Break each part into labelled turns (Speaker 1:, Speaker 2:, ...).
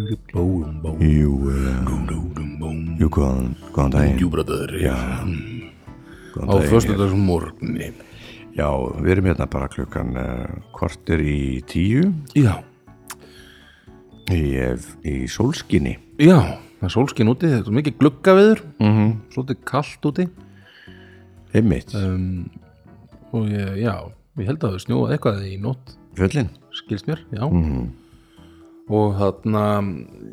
Speaker 1: You, uh, you góðan, góðan daginn
Speaker 2: Júbraður
Speaker 1: Já,
Speaker 2: Á
Speaker 1: góðan daginn
Speaker 2: föstudags morgni
Speaker 1: Já, við erum hérna bara klukkan uh, kortir í tíu
Speaker 2: Já,
Speaker 1: í, í sólskinni
Speaker 2: já, það er sólskin úti Þetta er mikið glugga viður mm -hmm. Svolítið kallt úti
Speaker 1: Einmitt,
Speaker 2: Og ég, já, ég held að það snjóað eitthvað í nótt
Speaker 1: fjöllin
Speaker 2: Skilst mér, já Og þarna,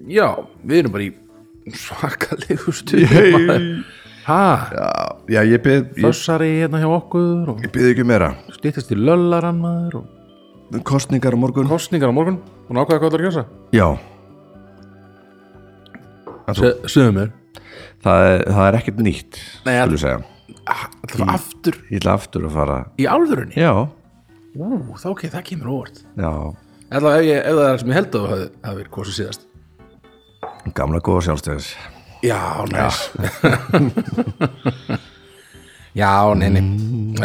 Speaker 2: já, við erum bara í svakalegu stuði maður. Ha,
Speaker 1: Já, ég byrð ég,
Speaker 2: þessari hérna hjá okkur og
Speaker 1: ég byrð ekki meira
Speaker 2: stýttist í löllarann maður og
Speaker 1: Kostningar á morgun
Speaker 2: kostningar á morgun og nákvæða hvað það er að kjósa
Speaker 1: Já,
Speaker 2: Se- Segðu mér
Speaker 1: það er, það er ekkert nýtt
Speaker 2: Nei,
Speaker 1: skulum segja
Speaker 2: Það var Ah, aftur
Speaker 1: Ég ætla aftur að fara
Speaker 2: í alvörunni
Speaker 1: Já,
Speaker 2: Ú, þá ok, það kemur á óvart
Speaker 1: já
Speaker 2: Eða ef, ég, ef það er sem ég held að þú hafi- hafi verið kosið síðast
Speaker 1: Gamla góða sjálfstæðis
Speaker 2: Já, næs Já, nei, nei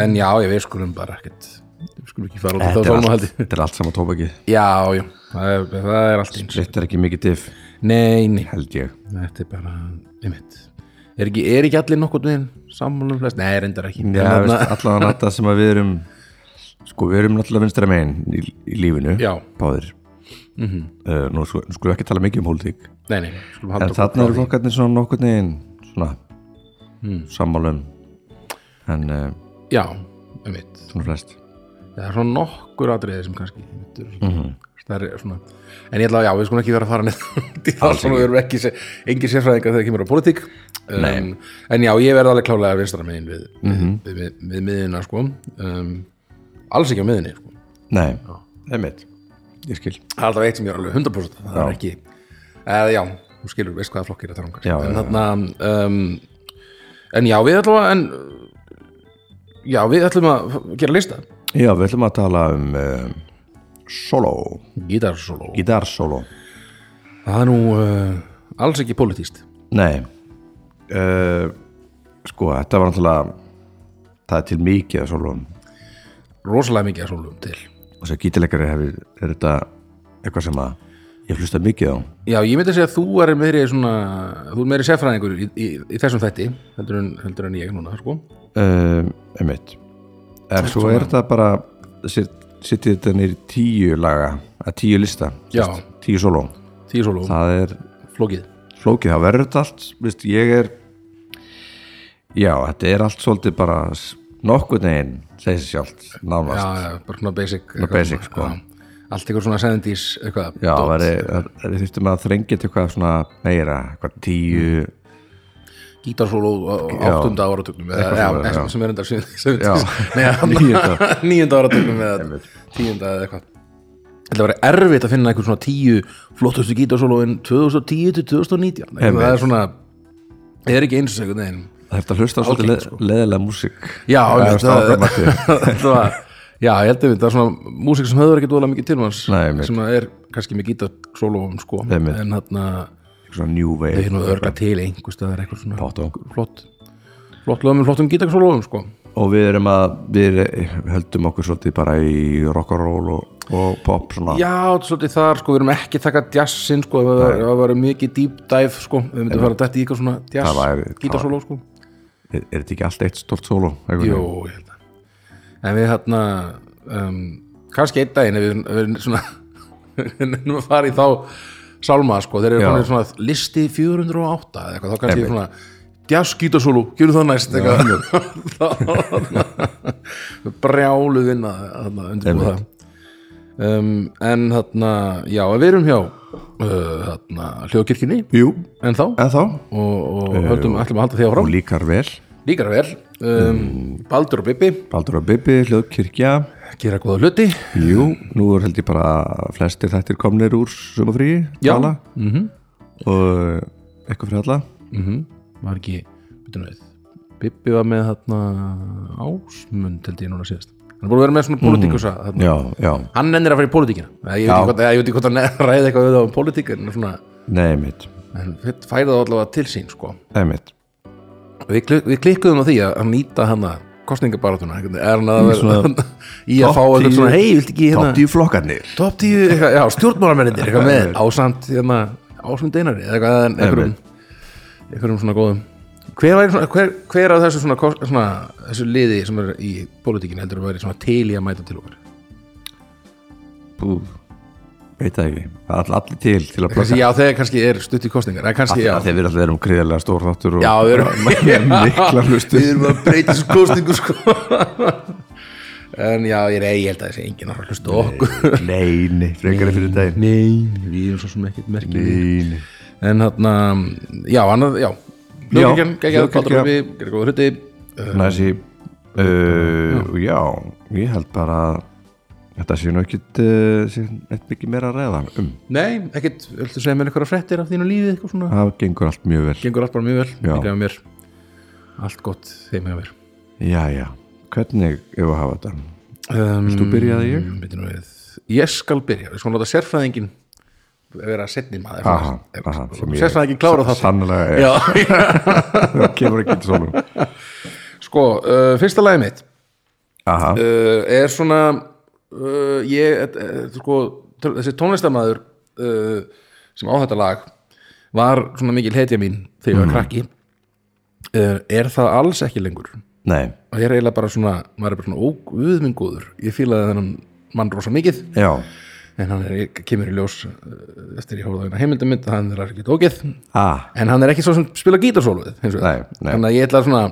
Speaker 2: En já, ég við skulum bara ekkert Við skulum ekki fara út í þá
Speaker 1: Þetta er
Speaker 2: þólma
Speaker 1: allt,
Speaker 2: haldi
Speaker 1: þetta er allt saman tóbakið
Speaker 2: Já, já, það er, það er allt eins
Speaker 1: Þetta er ekki mikið diff,
Speaker 2: Nei, nei,
Speaker 1: held ég
Speaker 2: þetta er bara einmitt Er ekki, er ekki allir nokkuð veginn sammálum flest? Nei, reyndar ekki En
Speaker 1: Já,
Speaker 2: þarna-
Speaker 1: veist, allan þetta sem að við erum sko, við erum náttúrulega vinstra megin í, í lífinu,
Speaker 2: Já. Mhm.
Speaker 1: báðir uh, nú sko, nú skulum við ekki tala mikið um pólitík,
Speaker 2: Nei, nei, við skulum halda
Speaker 1: en
Speaker 2: okkur
Speaker 1: þarna
Speaker 2: frá
Speaker 1: eru
Speaker 2: því. Hmm.
Speaker 1: flokkarnir svona nokkur negin svona mm. sammálum en uh,
Speaker 2: Já, einmitt
Speaker 1: svona flest
Speaker 2: Já, það er svona nokkur atriði sem kannski mm
Speaker 1: Mhm.
Speaker 2: -hmm. stærri, svona. en ég ætla að já, við skulum ekki vera að fara neitt í það svona, við erum ekki, sé- engin sérfræðingar þegar kemur á politík um, en já, ég verð alveg klálega vinstra meðin við,
Speaker 1: Mhm.
Speaker 2: við, við, við miðina sko um, alls ekki á miðinni sko.
Speaker 1: Nei, einmitt, ég skil
Speaker 2: það er alltaf eitt sem ég er alveg 100% það er ekki, eða já, þú skilur veist hvaða flokkir þetta
Speaker 1: Já,
Speaker 2: rangar en
Speaker 1: já,
Speaker 2: þarna um, en já, við ætlum að en, já, við ætlum að gera lista
Speaker 1: Já, við ætlum að tala um uh, solo,
Speaker 2: gítarsóló
Speaker 1: gítarsolo
Speaker 2: Það er nú uh, alls ekki pólitíst
Speaker 1: Nei uh, sko, þetta var náttúrulega það er til mikið að soloum
Speaker 2: Rosalega mikið að sólum til
Speaker 1: og sem gítileikari hefur, er þetta eitthvað sem að ég hlusta mikið á
Speaker 2: Já, ég myndi að segja að þú er meiri svona, þú er meiri sérfræðingur í, í, í þessum þætti heldur en, heldur en ég núna, sko
Speaker 1: um, einmitt er, svo er þetta bara sittið þetta nýr tíu laga að tíu lista,
Speaker 2: Já.
Speaker 1: sérst, tíu sóló
Speaker 2: Tíu sólum,
Speaker 1: það er
Speaker 2: flókið
Speaker 1: flókið, það verður þetta allt veist, ég er já, þetta er allt svolítið bara s- nokkurn veginn, segir sig sjálft
Speaker 2: Já,
Speaker 1: nánast,
Speaker 2: já, bara svona basic eitthvað
Speaker 1: basic,
Speaker 2: svona,
Speaker 1: sko.
Speaker 2: já. Allt ykkur svona 70s eitthvað
Speaker 1: já,
Speaker 2: dót.
Speaker 1: það er þurftum að þrengja til eitthvað svona meira, eitthvað tíu
Speaker 2: Mm. Gítarsóló á á
Speaker 1: Já.
Speaker 2: áttunda áratugnum eða,
Speaker 1: Eitthvað
Speaker 2: já,
Speaker 1: svona,
Speaker 2: já,
Speaker 1: já.
Speaker 2: sem er enda
Speaker 1: Já.
Speaker 2: nýjunda
Speaker 1: Níunda.
Speaker 2: níunda áratugnum eða tíunda eða eitthvað Þetta verið erfitt að finna einhver svona tíu flottustu gítarsólóin 2010 til 2019 Nei,
Speaker 1: Einmitt.
Speaker 2: það er svona það er ekki eins og einhvern veginn
Speaker 1: það er þetta að hlusta á svolítið
Speaker 2: sko.
Speaker 1: leð, leðilega músík
Speaker 2: Já,
Speaker 1: Það er
Speaker 2: einmitt,
Speaker 1: strákamatið.
Speaker 2: þetta var já, ég held að það er svona músík sem höfður ekki dóla mikið til hans
Speaker 1: Nei, einmitt.
Speaker 2: sem að er kannski með gítarsólóum sko,
Speaker 1: Einmitt.
Speaker 2: en þarna
Speaker 1: svona new
Speaker 2: það er
Speaker 1: wave
Speaker 2: nú örgla til einhvers það er eitthvað svona
Speaker 1: Pottum.
Speaker 2: flott flott lögum, flottum gítarsólóum sko.
Speaker 1: og við erum að við höldum okkur svolítið bara í rock'n'roll og, og pop svona
Speaker 2: Já, svolítið þar, sko, við erum ekki að taka jazzin, sko, ef það var- ef það var mikið deep dive, sko, við myndum fara að dætti í eitthvað svona
Speaker 1: Það væri-
Speaker 2: jazz, gítarsóló, sko
Speaker 1: er, er þetta ekki allt eitt stort solo?
Speaker 2: Jú, ég held að En við þarna, um, kannski einn daginn ef við, ef við svona nefnum að fara í þá sálma, sko, þeir eru
Speaker 1: Já.
Speaker 2: konir svona listi 408 eða eitthvað, þá kannski
Speaker 1: Einmitt.
Speaker 2: svona jazz gítarsóló, gerum það næst eitthvað brjálu vinna þarna, undirbúið það um, en þarna, já, en við erum hjá uh, þarna, hljóðkirkjunni
Speaker 1: Jú,
Speaker 2: en þá og,
Speaker 1: en þá
Speaker 2: og höldum, ætlum að halda því
Speaker 1: og
Speaker 2: áfram
Speaker 1: líkar vel
Speaker 2: líkar vel, um, Baldur og Bibi
Speaker 1: Baldur og Bibi, Hljóðkirkja
Speaker 2: gera góða hluti
Speaker 1: Jú, nú er held ég bara að flestir þættir komnir úr sumafríi
Speaker 2: Já. Mhm.
Speaker 1: mm -hmm. og eitthvað fyrir alla
Speaker 2: var ekki, veitum við Bibi var með þarna ásmund held ég núna síðast hann er búin að vera með svona pólitíkusa þarna.
Speaker 1: já, já,
Speaker 2: hann nennir að fara í pólitíkina Eða ég veit ekki
Speaker 1: Mhm. Já.
Speaker 2: hvort- eða ég veit ekki hvort hann ræði eitthvað við það um pólitík en svona,
Speaker 1: nei mitt
Speaker 2: en færi það allavega til sín sko.
Speaker 1: nei mitt
Speaker 2: við, klik, við klikkuðum á því að að nýta hann að kostningabaratuna er hann að vera í að fá eitthvað svona hei, viltu ekki
Speaker 1: top
Speaker 2: hérna
Speaker 1: 10 flokkarnir
Speaker 2: top 10, eitthvað, já, stjórnmálamennindir eitthvað með þér, ásamt, hérna, ásamt einari eða eitthvað, en einhverjum einhverjum svona góðum hver, væri svona, hver, hver af þessu svona, kos- svona þessu liði sem er í pólitíkinu heldur að vera svona til í að mæta til okkar
Speaker 1: Bú, veit það ekki það er all- allir til til að plaka
Speaker 2: kannski, já, þegar kannski er stutt í kostningar eða kannski, já,
Speaker 1: þegar við allir erum gríðarlega stór þáttur og
Speaker 2: já, við erum
Speaker 1: mikla hlustu
Speaker 2: við erum að breyta þessu kostningu sko en já, ég, nei, ég held að þessi enginn að hlusta á okkur
Speaker 1: nei, nei, frekar er fyrir daginn
Speaker 2: Nei, við erum svo sem ekkert merkið
Speaker 1: nei, nei
Speaker 2: En þarna, já, annað, já Ljókirkjan, geggjað,
Speaker 1: Hljóðkirkja.
Speaker 2: bátur uppi, gerir góða hluti Um,
Speaker 1: Næsi uh, Já, ég held bara að þetta sé nú ekkit uh, sé neitt mikið meira að ræða um
Speaker 2: Nei, ekkert, viltu segja mér eitthvað fréttir af þínu lífi, eitthvað svona
Speaker 1: Það gengur allt mjög vel
Speaker 2: Gengur allt bara mjög vel,
Speaker 1: Já.
Speaker 2: líka með mér Allt gott þeim hjá mér
Speaker 1: Já, já, hvernig ef að hafa þetta?
Speaker 2: um,
Speaker 1: Þú byrjaði ég?
Speaker 2: Mm, bíddu nú við. Ég skal byrja, við skoðum láta sérfræðingin vera setni maður
Speaker 1: Aha, aha, sem ég-
Speaker 2: Sérfræðingin klára það
Speaker 1: Sannlega,
Speaker 2: Já,
Speaker 1: er, það kemur ekki til svona
Speaker 2: sko, uh, fyrsta lagi mitt
Speaker 1: Aha,
Speaker 2: uh, er svona uh, ég, uh, sko t- þessi tónlistamæður uh, sem á þetta lag var svona mikil hetja mín þegar
Speaker 1: Mhm.
Speaker 2: ég var krakki uh, er það alls ekki lengur
Speaker 1: nei,
Speaker 2: og ég er eiginlega bara svona, maður er bara svona óguðmingóður, ég fílaði þennan mann rosa mikið
Speaker 1: já,
Speaker 2: en hann er, kemur í ljós uh, eftir ég hóða þennan heimildamind að hann er ekki tókið
Speaker 1: ah,
Speaker 2: en hann er ekki svo sem spila gítarsóluð
Speaker 1: Nei, nei.
Speaker 2: þannig að ég ætla að svona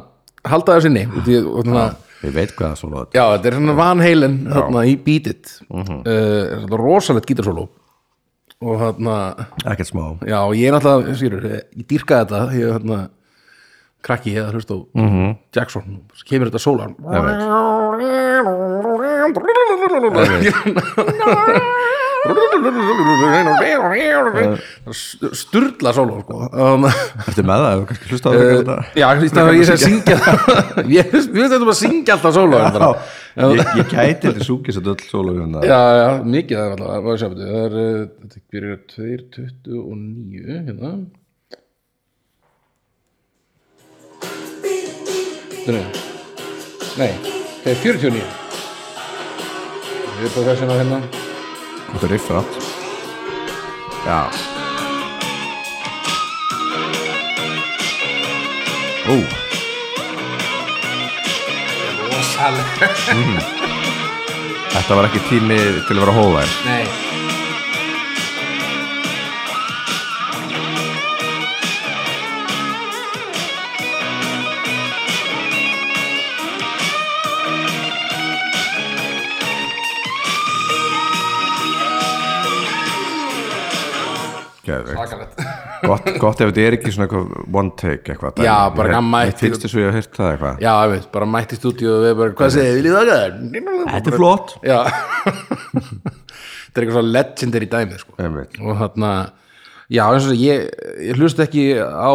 Speaker 2: halda þessi ney og svona
Speaker 1: ég veit hvað það er svona
Speaker 2: Já, þetta er svona Van Halen þarna í Beat It uh er þetta rosalegt gítarsólu og þarna,
Speaker 1: Ekkert smá
Speaker 2: já, og ég er náttúrulega skýrur, ég dýrkaði þetta ég er þarna krakki eða hlust á Jackson, svo kemur þetta sólan Sturla sólu sko. Þarna-
Speaker 1: Ertu með það, hefur kannski hlusta á
Speaker 2: Uh,
Speaker 1: þetta
Speaker 2: Já, í stæðan að ég sé að syngja það Ég finnst ég finnst þetta bara að syngja alltaf sólu
Speaker 1: Já, ég, ég gæti til súkis að öll sólugum það
Speaker 2: Já, já, mikið það er alltaf Má ég sjá, bíddu, Það er, eh, þetta byrjar 2.29 hérna Þetta er- Nei, það er 49 Við erum bara þess vegna hérna
Speaker 1: Þetta er riffrat Já Ó,
Speaker 2: Rosaleg
Speaker 1: þetta var ekki tími til að vera hóða
Speaker 2: Nei
Speaker 1: Gæðvegt
Speaker 2: Svakalegt
Speaker 1: gott, gott ef þetta er ekki svona eitthvað one take eitthvað
Speaker 2: Já,
Speaker 1: dæmi.
Speaker 2: bara
Speaker 1: Mér-
Speaker 2: gamma
Speaker 1: Mér
Speaker 2: eitt-
Speaker 1: finnst þess að ég hef heyrt það eitthvað
Speaker 2: Já, ég veit, bara mætti í stúdíu og við bara, hvað segir, viljið það gæða?
Speaker 1: Þetta er flott
Speaker 2: Já Þetta er eitthvað svo legendary dæmi sko.
Speaker 1: Einmitt.
Speaker 2: og þarna já, eins og þess að ég, ég hlust ekki á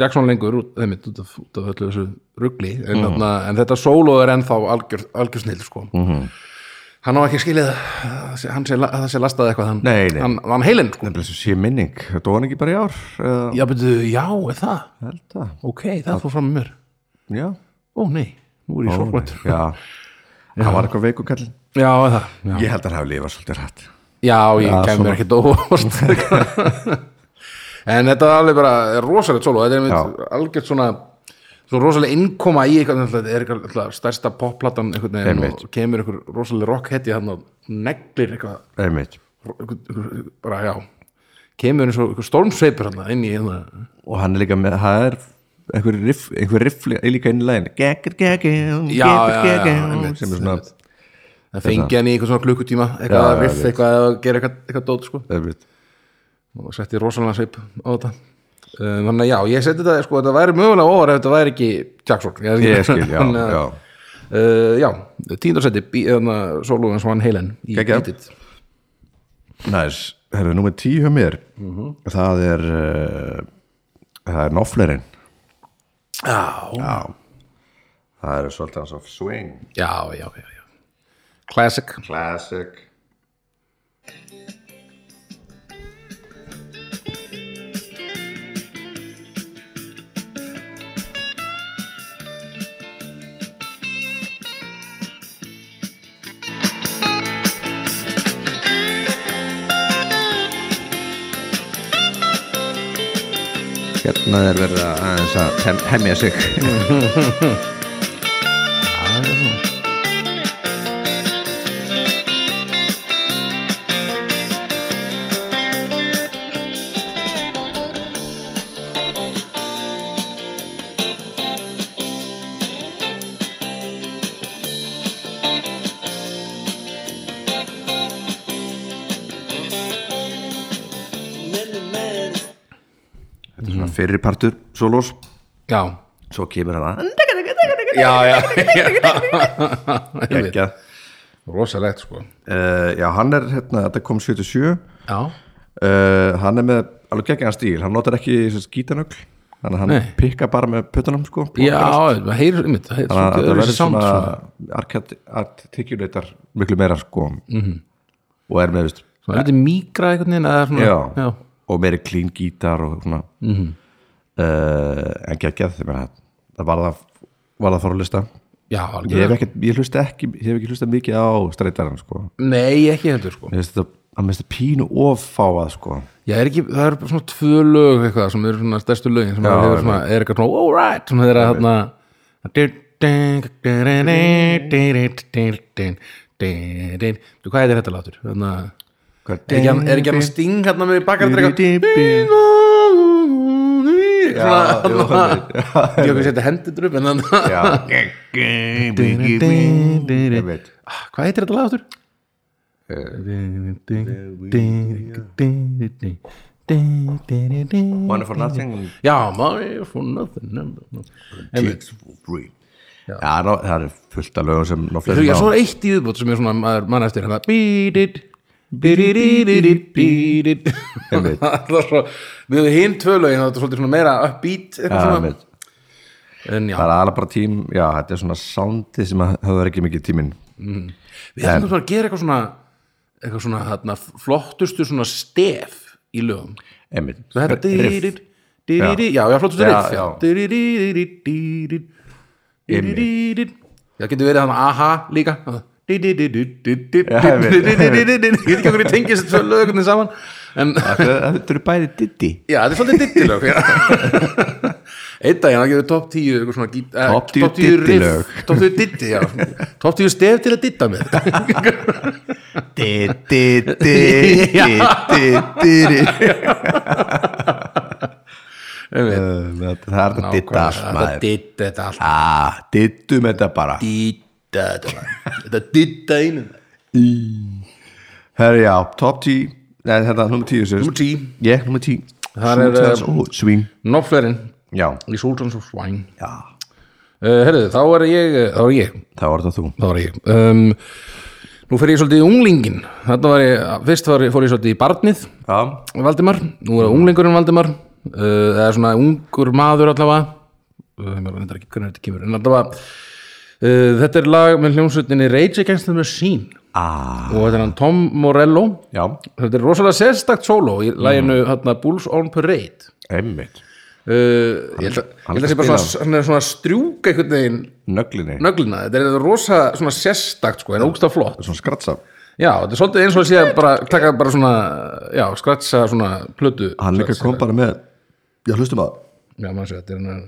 Speaker 2: Jackson lengur út, einmitt, út, af, út af öllu þessu rugli en,
Speaker 1: Mhm.
Speaker 2: þarna, en þetta solo er ennþá algjör, algjör snill sko.
Speaker 1: Mhm.
Speaker 2: hann á ekki skilið að sé- hann sé, la- að það sé lastað eitthvað hann,
Speaker 1: Nei, nei.
Speaker 2: hann, hann heilin sko.
Speaker 1: Nefnilega sem sé minning, þetta var hann ekki bara í ár eða,
Speaker 2: já, betur, já, er það
Speaker 1: held það,
Speaker 2: ok, það fór fram með mér
Speaker 1: já
Speaker 2: ó nei, nú er ég sorgmættur
Speaker 1: Já, það var eitthvað veikukall
Speaker 2: já, er það já,
Speaker 1: Ég held að hann hafi lifað svolítið hrætt
Speaker 2: Já, ég
Speaker 1: Já,
Speaker 2: kæmi mér
Speaker 1: svona.
Speaker 2: ekkert óvart En þetta er alveg bara rosalegt solo, þetta er einmitt algjört svona svo rosalega innkoma í eitthvað, náttúrulega, þetta er eitthvað náttúrulega stærsta popplattan einhvern veginn
Speaker 1: Einmitt.
Speaker 2: og kemur einhver rosalega rockhetti hann og neglir eitthvað,
Speaker 1: Einmitt
Speaker 2: eitthvað, eitthvað bara já kemur eins og einhver stormsveipur hann inn í hérna
Speaker 1: og hann er líka með, það er einhver riff, einhver riff líka- er líka inn í lægin geggjur, geggjur,
Speaker 2: Já, já, já,
Speaker 1: geggjur
Speaker 2: einmitt,
Speaker 1: sem er svona
Speaker 2: einmitt. það fengi hann í eitthvað svona klukkutíma eitthvað
Speaker 1: Já,
Speaker 2: að
Speaker 1: já,
Speaker 2: riff,
Speaker 1: einmitt.
Speaker 2: eitthvað að gera eitthvað, eitthvað dót sko
Speaker 1: einmitt.
Speaker 2: og setti rosalega sveip á þetta Um, þannig að já, ég seti þetta, sko, þetta væri mögulega óvar ef þetta væri ekki Jackson ég,
Speaker 1: ég skil, já,
Speaker 2: Þannig að-
Speaker 1: já
Speaker 2: uh, já tíndarsetti, þannig að Sólúin Svan Heilen í
Speaker 1: Geggjað.
Speaker 2: Beat It.
Speaker 1: næs, herru, númer tíu hjá mér
Speaker 2: Mhm.
Speaker 1: það er uh, það er noflerinn
Speaker 2: já,
Speaker 1: það er svolítið hans of swing
Speaker 2: já, já, já, já Classic
Speaker 1: Classic Hérna er verið að aðeins að hem, hemja sig Þetta er svona fyrirpartur solos
Speaker 2: Já,
Speaker 1: Svo kemur hann
Speaker 2: já, já, já.
Speaker 1: að Gekka
Speaker 2: Rosalegt sko
Speaker 1: Uh, já, hann er hérna, þetta kom 77 uh,
Speaker 2: Já,
Speaker 1: Eh, hann er með alveg geggjaðan stíl hann notar ekki skítanögl þannig að hann
Speaker 2: Nei.
Speaker 1: pikka bara með puttunum sko,
Speaker 2: já, það heyrir einmitt, það heyrir
Speaker 1: þannig að
Speaker 2: svolítið
Speaker 1: þetta
Speaker 2: öðruvísi
Speaker 1: verður
Speaker 2: sound,
Speaker 1: svona
Speaker 2: svona,
Speaker 1: arcat- articulator miklu meira sko
Speaker 2: Mhm.
Speaker 1: -hmm. og er með, veist,
Speaker 2: svona lítið mýgra einhvern veginn eða svona,
Speaker 1: já,
Speaker 2: já.
Speaker 1: og meiri clean gítar og svona mm
Speaker 2: Mhm.
Speaker 1: -hmm. uh, en geggjað, ég meina það var það, var það fór að hlusta
Speaker 2: Já,
Speaker 1: ég
Speaker 2: algjörlega.
Speaker 1: hef ekki, ég hlusta ekki, ég hef ekki hlusta mikið á streytaran sko,
Speaker 2: Nei, ekki heldur sko
Speaker 1: ég veist þetta að minnst þetta pínu offáað sko
Speaker 2: Já, er ekki, það eru bara svona tvö lög eitthvað sem eru svona stærstu lögin sem já, hefur svona, er eitthvað svona, all right svona þeirra þarna Hvað heitir þetta látur? Þarna, er ekki hann- er ekki hann sting hérna með bakardreika
Speaker 1: Já, jú,
Speaker 2: Svona,
Speaker 1: einmitt.
Speaker 2: þarna Ég okkur setja hendur upp en þarna
Speaker 1: Já Ég veit
Speaker 2: Ah, Hvað heitir þetta lagastur?
Speaker 1: Eh. One for nothing
Speaker 2: Já, maður for nothing Einmitt.
Speaker 1: Kids for free Já, ná- það er fullt af lögum sem ná
Speaker 2: Þú
Speaker 1: fleiri
Speaker 2: veist,
Speaker 1: ná
Speaker 2: svo er eitt í viðbót sem er svona maður mann eftir hérna Bídid, bídidididid, bídid
Speaker 1: Einmitt.
Speaker 2: Það er svo, við höfum hinn tvö lögin það er svolítið svona meira upbeat
Speaker 1: Já,
Speaker 2: eitthvað svona.
Speaker 1: einmitt.
Speaker 2: En já,
Speaker 1: Það er alveg bara tím Já, þetta er svona soundið sem að- það er ekki mikið tíminn
Speaker 2: við höfum svona að gera eitthvað svona eitthvað svona þarna flottustu svona stef í lögum
Speaker 1: Einmitt
Speaker 2: Svo þetta
Speaker 1: Riff.
Speaker 2: dýrýrýr dýrýrýr, já, já, flottur
Speaker 1: Já,
Speaker 2: riff
Speaker 1: já.
Speaker 2: dýrýrýrýr dýrýrýr dýrýrýr Já, getur verið hann aha líka dýrýrýrýr
Speaker 1: Já, ég veit, ég veit.
Speaker 2: dýrýrýrýr ég veit ekki hvernig tengist þessu lögurni saman en
Speaker 1: Þetta þetta eru bæði diddi
Speaker 2: já, þetta er svolítið dittilög Einn daginn, það getur topp tíu eitthvað svona gít- eh,
Speaker 1: Topp tíu
Speaker 2: topp tíu riff,
Speaker 1: diddilög.
Speaker 2: topp tíu ditti, já topp tíu stef til að ditta með
Speaker 1: Diddi Það er þetta didda
Speaker 2: þetta ditta þetta allt
Speaker 1: Dittum Ah, þetta bara
Speaker 2: ditta þetta bara. þetta ditta einu
Speaker 1: Herri já, top 10 Nei, hérna, þetta, nummer 10 sérst
Speaker 2: Númer 10.
Speaker 1: Já, nummer 10
Speaker 2: Þar er,
Speaker 1: Sometimes, ó, Swing
Speaker 2: Noflerinn
Speaker 1: Já,
Speaker 2: í Sultans of Swine
Speaker 1: já
Speaker 2: uh, Herðu, þá er ég eh, þá er ég,
Speaker 1: Það var þetta þú
Speaker 2: þá er ég um, Nú fer ég svolítið í unglingin Þarna var ég, fyrst var, ég- fór ég svolítið í barnið
Speaker 1: Já,
Speaker 2: Valdimar, nú er það unglingurinn Valdimar uh, eða svona ungur maður allavega uh, ég maður reyndar ekki hvernig þetta kemur en allavega uh, þetta er lag með hljómsveitinni Rage Against the Machine
Speaker 1: ah,
Speaker 2: og þetta er hann Tom Morello
Speaker 1: já,
Speaker 2: þetta er rosalega sérstakt solo í laginu hérna, Bulls on Parade
Speaker 1: einmitt
Speaker 2: Uh, ég held að ég held að
Speaker 1: hann
Speaker 2: sé bara
Speaker 1: spila.
Speaker 2: svona, svona, svona strjúka einhvern veginn
Speaker 1: Nöglinni
Speaker 2: nöglina, þetta er rosa svona sérstakt sko, en ógsta flott
Speaker 1: Svona skratsa
Speaker 2: já, þetta er svolítið eins og að sé að bara taka bara svona, já, skratsa svona plötu,
Speaker 1: Hann líka kom bara með Já, hlustum að
Speaker 2: já, maður sé, þetta er hérna hann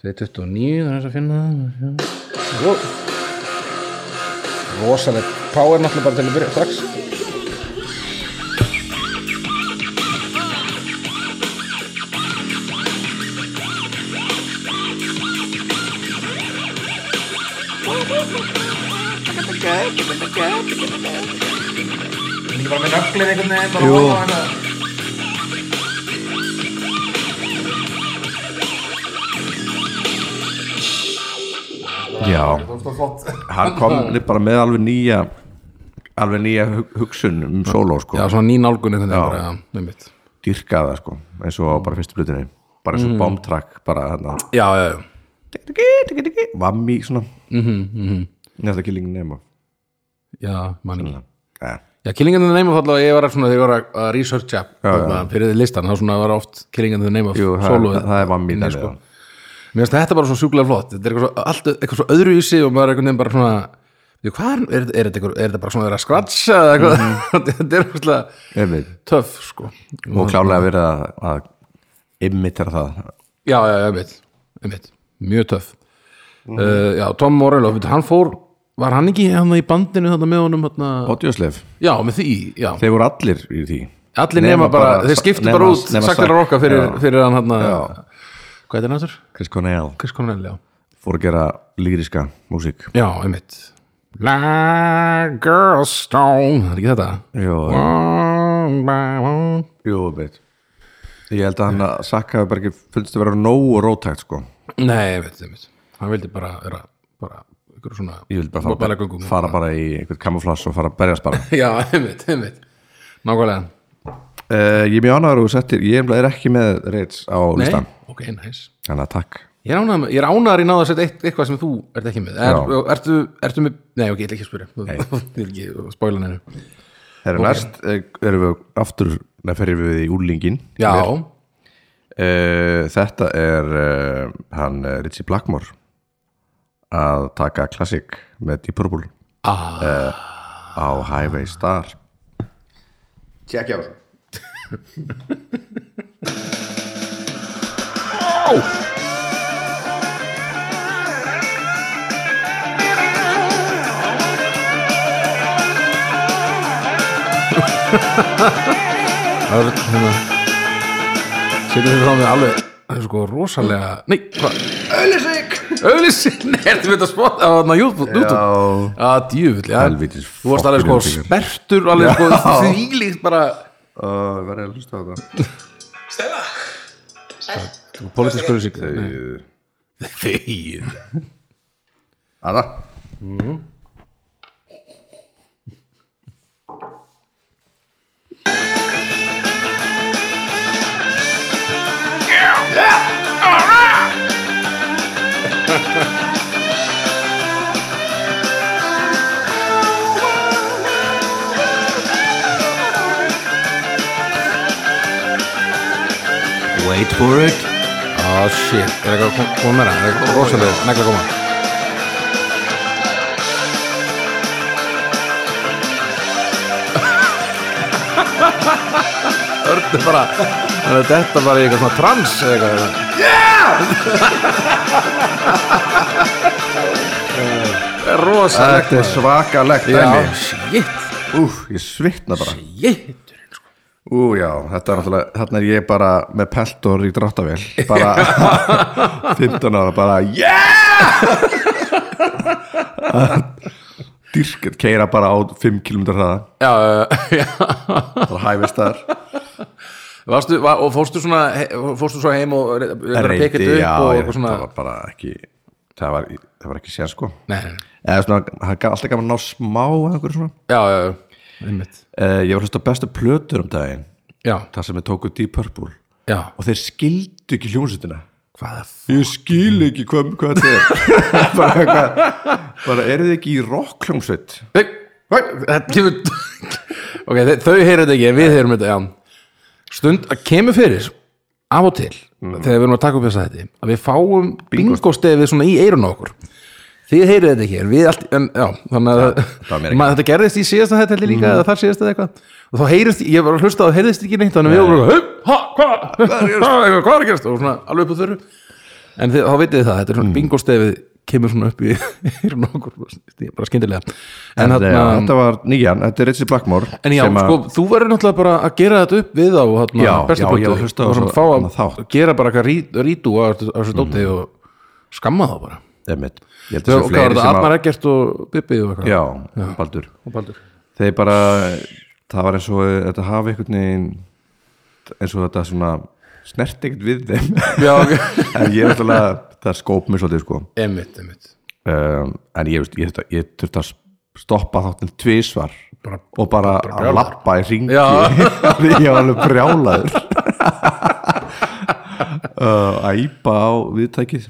Speaker 2: 229, það er þess að finna það já. Ó. rosalegt power náttúrulega bara til að byrja strax Ég er bara með nöglin einhvern veginn bara
Speaker 1: Jú.
Speaker 2: ofan á hana.
Speaker 1: Já,
Speaker 2: Það er flott.
Speaker 1: hann kom li- bara með alveg nýja Alveg nýja hug- hugsun um solo sko
Speaker 2: Já, svona ný nálgun einhvern veginn bara, einmitt.
Speaker 1: Dyrkaða sko Eins og
Speaker 2: Mm.
Speaker 1: bara fyrstu blutinni Bara eins og bomb track Bara þarna
Speaker 2: Já, já, já. Mhm,
Speaker 1: Vammi svona mm -hmm, mm -hmm. Nefnda killingin nema
Speaker 2: já, mann ekki
Speaker 1: ja.
Speaker 2: Já, Killing in the Name of alltaf, ég var að svona, þegar ég var að- að researcha þarna, fyrir listan, þá svona var oft Killing in the Name of
Speaker 1: Jú, það,
Speaker 2: soloið
Speaker 1: það er maður mín
Speaker 2: inni, sko. Mér finnst þetta bara svo sjúklega flott Þetta er eitthvað svo, allt, eitthvað svo öðru í sig og maður er einhvern veginn bara svona "Jú, Hvað er, er, er, þetta, eitthvað- er þetta bara svona að vera að skratsa eða eitthvað Þetta er svona töff, sko
Speaker 1: og klálega verið að, að imitera það
Speaker 2: Já, já, já, einmitt, einmitt. Mjög töff uh, Já, Tom Morello, veitu, hann fór Var hann ekki hann í bandinu þarna með honum þarna,
Speaker 1: Odjóslef,
Speaker 2: Já, með því, já
Speaker 1: þeir voru allir í því
Speaker 2: Allir nema, bara, þeir skiptu bara út
Speaker 1: nema
Speaker 2: Saktar
Speaker 1: Zac-
Speaker 2: Rokka fyrir,
Speaker 1: Já.
Speaker 2: fyrir hann hann
Speaker 1: Já.
Speaker 2: Hvað er þetta náttúr?
Speaker 1: Chris Cornell
Speaker 2: Chris Cornell, já
Speaker 1: fór að gera líriska músík
Speaker 2: Já, einmitt Like a stone Það er ekki þetta
Speaker 1: Jú,
Speaker 2: Wow.
Speaker 1: jú, veit Ég held að hann að Sakka hefur bara ekki fundist að vera nógu rótækt sko
Speaker 2: Nei, einmitt, einmitt Hann vildi bara vera bara ykkur svona
Speaker 1: Ég vil bara
Speaker 2: bara
Speaker 1: fara,
Speaker 2: göngum
Speaker 1: fara bara í einhvern kamuflas og fara að berjast bara
Speaker 2: Já, einmitt, einmitt Nákvæmlega
Speaker 1: uh, Ég er mjög ánægur og settir, ég er ekki með reits á listan,
Speaker 2: ok, nice
Speaker 1: þannig að takk
Speaker 2: Ég er ánægður- ég er ánaður í náða að setja eitt, eitthvað sem þú ert ekki með er,
Speaker 1: Já.
Speaker 2: ertu, ertu með, nei ok, ég ætla ekki að spyrja Ég vil ekki spóla neinu
Speaker 1: Herra, Næst eh, erum við aftur, neða ferjum við í úlingin
Speaker 2: Já,
Speaker 1: Uh, þetta er uh, hann eh, Ritchie Blackmore að taka klassik með Deep Purple eh,
Speaker 2: ah,
Speaker 1: á Highway Star Tjekkja á þessu
Speaker 2: það er hérna Setur þér frá mig alveg það er sko rosalega, nei, hvað
Speaker 1: Öllisik
Speaker 2: Auðlýsing, nei, ertu með þetta spott á þarna YouTube YouTube? að djöfull, já
Speaker 1: Helvítis
Speaker 2: þú varst alveg sko
Speaker 1: fucking auðlýsingar.
Speaker 2: sperrtur alveg sko þvílíkt bara
Speaker 1: uh, Verði að hlusta á það
Speaker 3: Stella,
Speaker 2: politisk auðlýsing
Speaker 1: Eh,
Speaker 2: þegið
Speaker 1: Aða Wait for it
Speaker 2: ah shit, er eitthvað að kom- koma meira er eitthvað rosalega, negla að koma Örn er bara hann er þetta bara í eitthvað svona trans eða eitthvað yeah rosalega
Speaker 1: Þetta er svakalegt
Speaker 2: já,
Speaker 1: dæmi.
Speaker 2: shit
Speaker 1: Ú, ég svitna bara
Speaker 2: Jéttur
Speaker 1: Ú já, þetta er náttúrulega, þarna er ég bara með peltor í dráttavél bara 15 ára bara yeah! dyrkert keira bara á 5 km hraða
Speaker 2: Já, já, já
Speaker 1: bara hæfist þar
Speaker 2: Varstu, var, og fórstu svona he- fórstu svo heim og reyndar að peka
Speaker 1: Reyndi,
Speaker 2: þetta
Speaker 1: já,
Speaker 2: upp og
Speaker 1: ég,
Speaker 2: eitthvað svona
Speaker 1: það var bara ekki það var, það var ekki sér sko
Speaker 2: Nei, nei, nei.
Speaker 1: eða svona, það gaf alltaf gaman að ná smá einhverjum
Speaker 2: já,
Speaker 1: svona
Speaker 2: já, já einmitt
Speaker 1: uh, ég var hlust á bestu plötur um daginn
Speaker 2: Já,
Speaker 1: það sem ég tóku Deep Purple
Speaker 2: já
Speaker 1: og þeir skildu ekki hljómsutina
Speaker 2: Hvaða f...
Speaker 1: ég skil ekki hvað, hvað þetta er bara, hvað, bara eru þið ekki í rockljómsveit
Speaker 2: Nei, hvað? Þetta kemur Ok, þe- þau heyrðu þetta ekki en við heyrum þetta, já Stund, að kemur fyrir af og til þegar við erum að taka upp þess að þetta að við fáum bingostefið svona í eirun á okkur Þið heyrið þetta ekki, en við allt, en já, þannig að
Speaker 1: var mér ekki.
Speaker 2: maður þetta gerðist í síðasta þetta líka, eða þar síðasta eitthvað, og þá heyrist, ég var að hlusta og heyrðist ekki neitt, þannig að við vorum bara, "Hup, ha, hvað, hvað er að gerast?" Eitthvað, hvað er að gerast, og svona alveg upp á þörru, en þið, þá vitið þið það, þetta er
Speaker 1: Mm.
Speaker 2: svona bingostefið kemur svona upp í eyrun á okkur, bara skyndilega, en
Speaker 1: þetta,
Speaker 2: þarna,
Speaker 1: þetta var nýjan, þetta er Ritchie Blackmore
Speaker 2: en já,
Speaker 1: sem að-
Speaker 2: sko, þú verður náttúrulega bara að gera þetta upp við þá, þarna,
Speaker 1: Já,
Speaker 2: bestu
Speaker 1: já,
Speaker 2: plötu.
Speaker 1: ég var að hlusta á
Speaker 2: og svona
Speaker 1: þessa-
Speaker 2: fá
Speaker 1: þennan
Speaker 2: að
Speaker 1: þátt.
Speaker 2: gera bara eitthvað rítú á þessu- á þessu dóti og skamma þá bara.
Speaker 1: Einmitt. ég held að
Speaker 2: Hvað
Speaker 1: þessu
Speaker 2: var
Speaker 1: fleiri
Speaker 2: þetta,
Speaker 1: sem
Speaker 2: Arnar
Speaker 1: að
Speaker 2: Eggert og Bibbi og eitthvað?
Speaker 1: já, Baldur
Speaker 2: og Baldur
Speaker 1: þeir bara, það var eins og þetta hafi einhvern veginn eins og þetta svona snert ekkert við þeim
Speaker 2: Já, ok
Speaker 1: en ég er alltaf, það skóp mér svolítið sko
Speaker 2: Einmitt, einmitt
Speaker 1: um, en ég, veist, ég, þurfti að- ég þurfti að stoppa þáttin tvisvar
Speaker 2: Bara-
Speaker 1: og bara, að
Speaker 2: brjálaður.
Speaker 1: lappa í ringi
Speaker 2: Já.
Speaker 1: ég var alveg brjálaður uh, æpa á viðtækið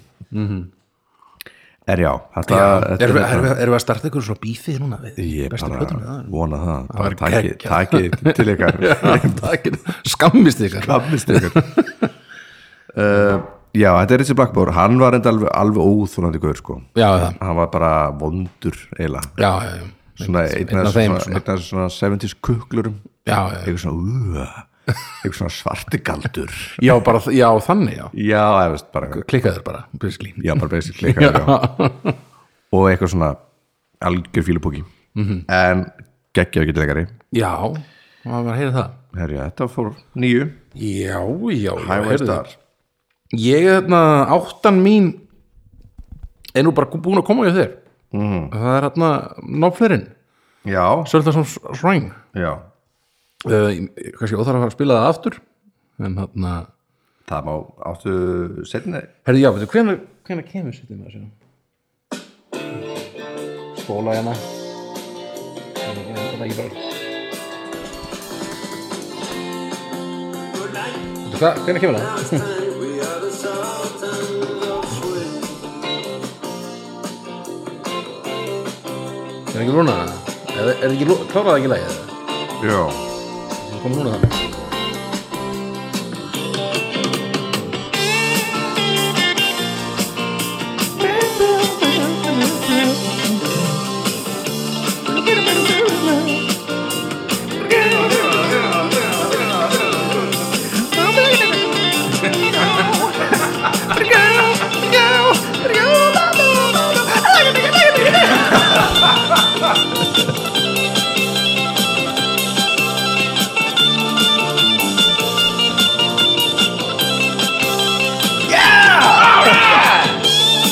Speaker 1: er já, þetta
Speaker 2: Já,
Speaker 1: þetta-
Speaker 2: erum við- erum við erum við að starta ykkur svona bífi núna við
Speaker 1: ég
Speaker 2: bestu
Speaker 1: bara
Speaker 2: plötuna? Já.
Speaker 1: vona það
Speaker 2: væri
Speaker 1: bara taki,
Speaker 2: geggjað.
Speaker 1: taki til ykkar
Speaker 2: Takk, skammist ykkar
Speaker 1: Kammist ykkur uh, Já, þetta er Ritchie Blackmore Hann var enda alveg, alveg óþúlandi guður sko
Speaker 2: já, það,
Speaker 1: Hann var bara vondur eiginlega
Speaker 2: já, já, já.
Speaker 1: Svona einn af
Speaker 2: af þeim,
Speaker 1: þessum svona, einn af þessum svona 70s kuklurum
Speaker 2: já, já.
Speaker 1: Eitthvað svona uh, Eitthvað svona svartigaldur
Speaker 2: já, bara, já, þannig já.
Speaker 1: Já, ég veist bara
Speaker 2: klikkaður bara, basically
Speaker 1: Já, bara basically eitthvað, já. Og eitthvað svona algjör fílupóki En geggjaðu getur leikari
Speaker 2: já, maður var að heyra það
Speaker 1: Herja, þetta fór nýju
Speaker 2: já, já, já,
Speaker 1: Highway
Speaker 2: heyrðu.
Speaker 1: Star
Speaker 2: ég er þarna áttan mín er nú bara búin að koma hjá þér mm. það er þarna náflirinn,
Speaker 1: Já,
Speaker 2: Söldarsson Shrine
Speaker 1: já,
Speaker 2: uh, ég- kannski óþarf að fara að spila það aftur en hérna, þarna
Speaker 1: það má áttu setna
Speaker 2: herri, já, veitu, hvenær, hvenær kemur setjum við þessu skóla hérna Ég veit það ekki bara. Veitu hvað, hvenær kemur það? er ekki lúna það? er, er ekki lú- kláraði það ekki lægið það?
Speaker 1: Já,
Speaker 2: kom núna þannig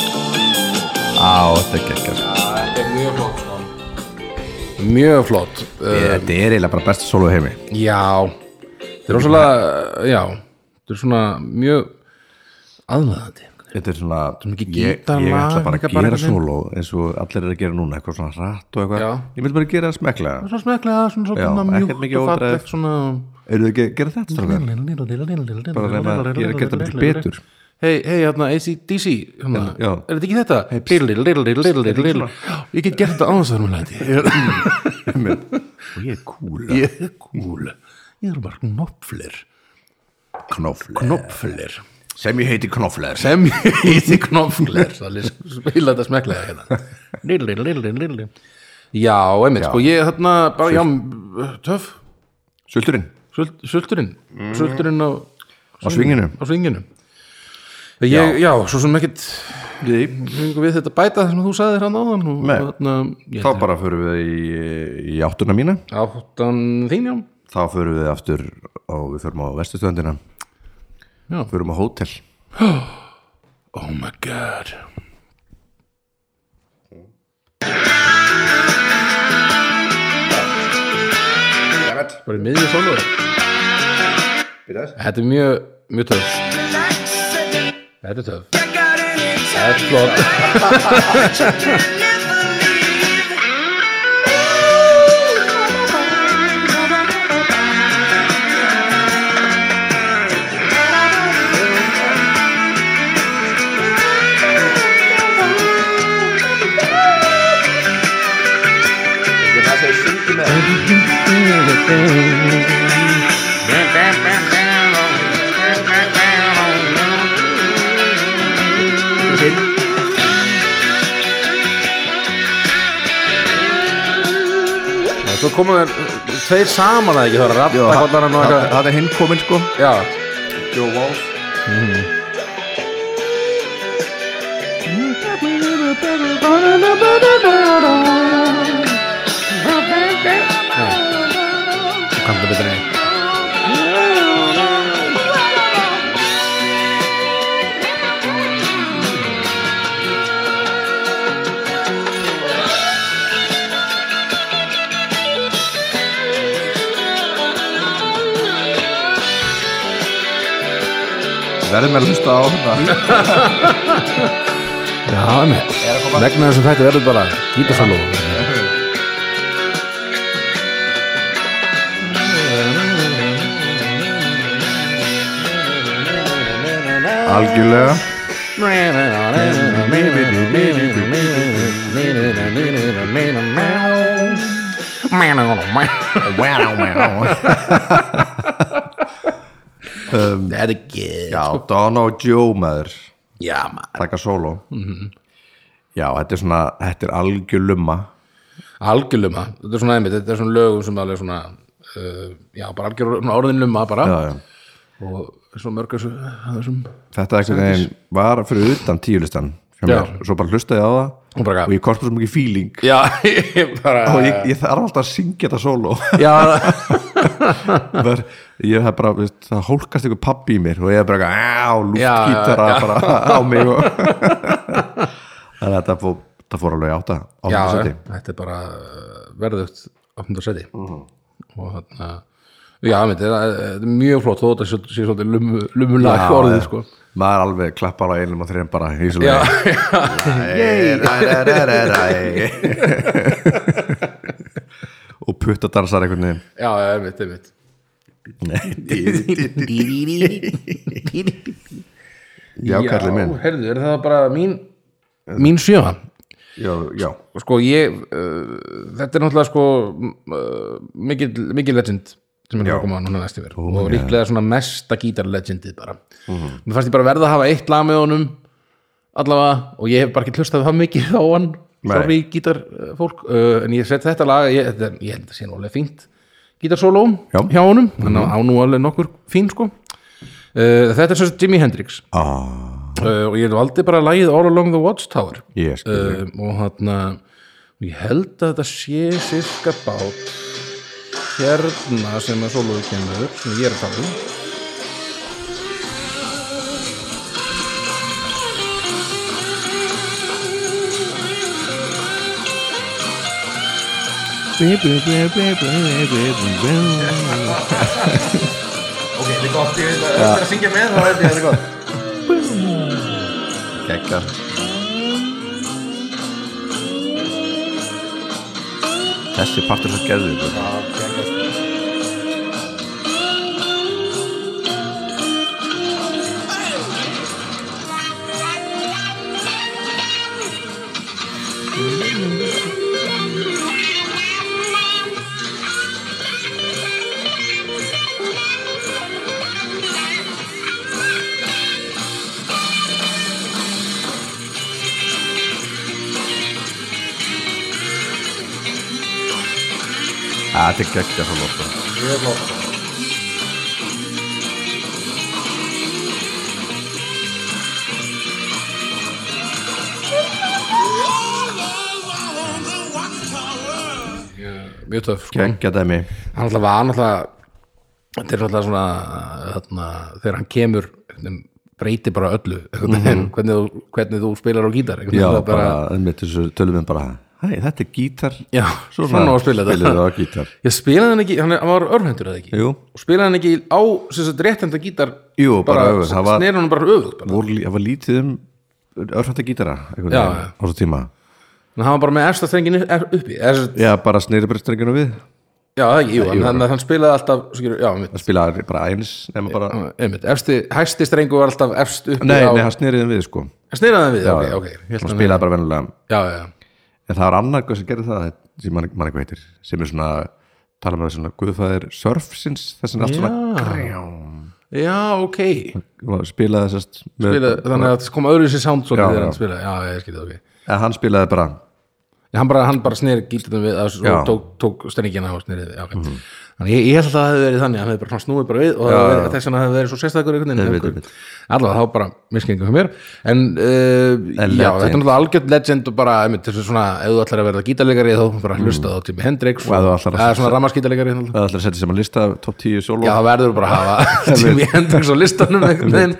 Speaker 1: á, þetta er geggjast
Speaker 2: mjög flott uh,
Speaker 1: Þetta er eiginlega bara besta solo heimi
Speaker 2: já þetta er rosalega, já þetta er svona mjög aðlaðandi
Speaker 1: Þetta er svona,
Speaker 2: mikið
Speaker 1: ég,
Speaker 2: gítarlag,
Speaker 1: ég ætla bara að
Speaker 2: líka bara
Speaker 1: gera
Speaker 2: einhvern veginn.
Speaker 1: solo eins og allir eru að gera núna, eitthvað svona rætt og eitthvað
Speaker 2: Já.
Speaker 1: Ég vil bara gera það smekla
Speaker 2: svona smeklega, svona
Speaker 1: Já,
Speaker 2: svona
Speaker 1: ekkert
Speaker 2: mjúkt
Speaker 1: mikið
Speaker 2: og
Speaker 1: ódræf.
Speaker 2: fallegt svona
Speaker 1: Eru þið ekki að gera þetta strákar?
Speaker 2: bara
Speaker 1: Bara reyna að gera- gera þetta miklu betur.
Speaker 2: hei, hei, hérna, ACDC hérna,
Speaker 1: Já.
Speaker 2: er þetta ekki þetta? Lil, lil, lil, lil, lil, lil. Já, ég get gert þetta án þess að vera með læti
Speaker 1: Og ég er cool
Speaker 2: ég er kúl ég er bara knopflir
Speaker 1: Knofler
Speaker 2: knopflir
Speaker 1: Sem ég heiti Knofler
Speaker 2: sem ég heiti knopflir það er spila þetta smeklega hérna Lil, lil, lil, lil, lil. já, einmitt, sko, ég þarna bara, já, töff
Speaker 1: Sulturinn
Speaker 2: Sult, sulturinn sulturinn á,
Speaker 1: Á svinginu.
Speaker 2: á svinginu. Ég, já. svo sem ekkit
Speaker 1: Því
Speaker 2: fengu við þetta bæta það sem þú sagðir hann áðan og
Speaker 1: Nei.
Speaker 2: þarna ég
Speaker 1: Þá
Speaker 2: held
Speaker 1: bara förum við í, í áttuna mína
Speaker 2: ég- áttan þín já,
Speaker 1: Þá förum við aftur og við förum á vestustöndina
Speaker 2: Já.
Speaker 1: Förum á hótel
Speaker 2: oh my god bara í miðjum sólu þetta er mjög, mjög töf þetta er töf þetta er flott og svo komum við tveir saman að ekki það er að rappa kollarann og eitthvað
Speaker 1: Það er hinn komin sko
Speaker 2: já,
Speaker 1: Joe Walsh
Speaker 2: kanntu betur en ég
Speaker 1: Verðum að hlusta á þetta
Speaker 2: já, einmitt. vegna þessum þetta verður bara gítasaló
Speaker 1: Algjörlega
Speaker 2: Þetta er gett
Speaker 1: Já, Don og Joe maður
Speaker 2: Já, maður
Speaker 1: taka sóló Já, þetta er svona, þetta er algjör lumma
Speaker 2: Algjörluma, þetta er svona einmitt Þetta er svona lögum sem alveg svona uh, Já, bara algjörluma, orðinluma bara
Speaker 1: já, já.
Speaker 2: Og svo mörg þessu þessum-
Speaker 1: Þetta einhvern veginn var fyrir utan tíulistan
Speaker 2: Já.
Speaker 1: hjá mér. svo bara hlustaði ég á það
Speaker 2: Og bara gaf.
Speaker 1: ég komst bara svo mikið feeling
Speaker 2: Já, ég bara
Speaker 1: og ég, ég þarf alltaf að syngja þetta sóló
Speaker 2: Já,
Speaker 1: Ver- ég hef bara, veist, það hólkast einhver pappi í mér og ég er bara eitthvað, á,
Speaker 2: Já,
Speaker 1: lúftgítara bara á mig og... þannig að þetta fór, það fór alveg í átta
Speaker 2: já,
Speaker 1: átta
Speaker 2: þetta er bara uh, verðugt 800 seti og þarna já, einmitt, þetta er- þetta er mjög flott þó þetta sé sé svolítið lumu- lumulag orðið sko
Speaker 1: maður alveg klappar á einum og þreim bara í svo
Speaker 2: já,
Speaker 1: leið og puttadansar einhvern veginn
Speaker 2: já, já, einmitt, einmitt
Speaker 1: já, kallið minn
Speaker 2: heyrðu, er það bara mín mín sjöfa
Speaker 1: já, já,
Speaker 2: sko ég, uh, þetta er náttúrulega sko uh, mikil, mikil legend sem er að koma núna næst yfir og líklega svona mesta gítar legendið bara
Speaker 1: Mhm.
Speaker 2: mér fannst ég bara verða að hafa eitt lag með honum allavega og ég hef bara ekki hlustað það mikið á hann
Speaker 1: Nei.
Speaker 2: sorry gítarfólk uh, en ég sett þetta lag, ég, þetta, ég held að sé nú alveg fínt gítarsóló
Speaker 1: Já. Mhm.
Speaker 2: hjá honum þannig að á nú alveg nokkur fín sko uh, þetta er svo sem Jimi Hendrix
Speaker 1: ah,
Speaker 2: uh, og ég valdi bara lagið All Along the Watchtower
Speaker 1: ég
Speaker 2: um,
Speaker 1: skil
Speaker 2: og hann ég held að þetta sé sirka bát hérna sem að sóluðu kemur sem ég er að tala um ok, þetta er gott, ég veit að þetta er að syngja með þá veit ég að þetta er gott
Speaker 1: Gekka Þessi partur sem gerði þetta Ah, Þetta er gekka svo sko. lóta
Speaker 2: mjög töf sko.
Speaker 1: Gekka dæmi
Speaker 2: hann alltaf var náttúrulega þetta er alltaf svona þarna, þegar hann kemur einhvern veginn, breytir bara öllu mm -hmm. hvernig, þú, hvernig þú spilar á gítar einhvern
Speaker 1: Mhm. Já,
Speaker 2: veginn, það er
Speaker 1: bara, einmitt þessu tölum við bara Hei, þetta er gítar
Speaker 2: já,
Speaker 1: Svona
Speaker 2: svona á að spila
Speaker 1: Spilum
Speaker 2: þetta
Speaker 1: við á gítar
Speaker 2: ég spilaði hann ekki, hann hann var örfhendur eða ekki
Speaker 1: Jú.
Speaker 2: og spilaði hann ekki á sem sagt, réttenda gítar
Speaker 1: Jú, bara öfugt, það var-
Speaker 2: snerði hann bara öfugt bara.
Speaker 1: Voru, lí- Það var lítið um örfænta gítara einhvern
Speaker 2: Já,
Speaker 1: veginn
Speaker 2: já.
Speaker 1: Á svo tíma
Speaker 2: en hann var bara með efsta strengin uppi er,
Speaker 1: Já, bara snýri breystrenginu við
Speaker 2: já, það ekki, jú, en hann, hann spilaði alltaf skilur, já, mitt,
Speaker 1: Það spila bara eins nema bara
Speaker 2: einmitt, efsti, hæsti strengu var alltaf efst uppi
Speaker 1: Nei,
Speaker 2: á,
Speaker 1: nei, hann snýriðum við sko
Speaker 2: snerði hann við, já, ok,
Speaker 1: já.
Speaker 2: ok ég held
Speaker 1: Hann
Speaker 2: að-
Speaker 1: spilaði bara venjulega
Speaker 2: já, já, já
Speaker 1: En það er annar guð sem gerir það sem mann man eitthvað heitir sem er svona, tala með svona guðfæðir surfsins, þess að allt svona grjám.
Speaker 2: Já, ok
Speaker 1: Og spilaði þessast með,
Speaker 2: Spila, Þannig að það kom öðru sér sound svolítið
Speaker 1: Já,
Speaker 2: þegar
Speaker 1: já.
Speaker 2: hann spilaði Já, ég skilja, ok
Speaker 1: að hann spilaði bara
Speaker 2: Já, Hann bara, hann bara sneri gítunum við að,
Speaker 1: Já. Mhm.
Speaker 2: og tók, tók stenningina og snerið við já, okay. Þannig ég, ég held að það hefði verið þannig hann hefði bara svona snúið bara við og já, verið, þess vegna hefði verið svo sérstakur einhvern
Speaker 1: Einmitt,
Speaker 2: einhver-
Speaker 1: einmitt.
Speaker 2: Allavega þá bara miskengu hjá mér En uh, já,
Speaker 1: En legend.
Speaker 2: þetta er náttúrulega algjörn legend og bara, einmitt, þessu svona, ef þú ætlar að verða gítarleikari þá bara hlustaðu á Jimi Hendrix
Speaker 1: Mm. Og ef þú ætlar að-
Speaker 2: eða svona hérna. rammaskítarleikari náttúrulega.
Speaker 1: að ætla að setja sem að lista top 10 solo
Speaker 2: Já, það verður bara að hafa Jimi Hendrix á listanum einhvern veginn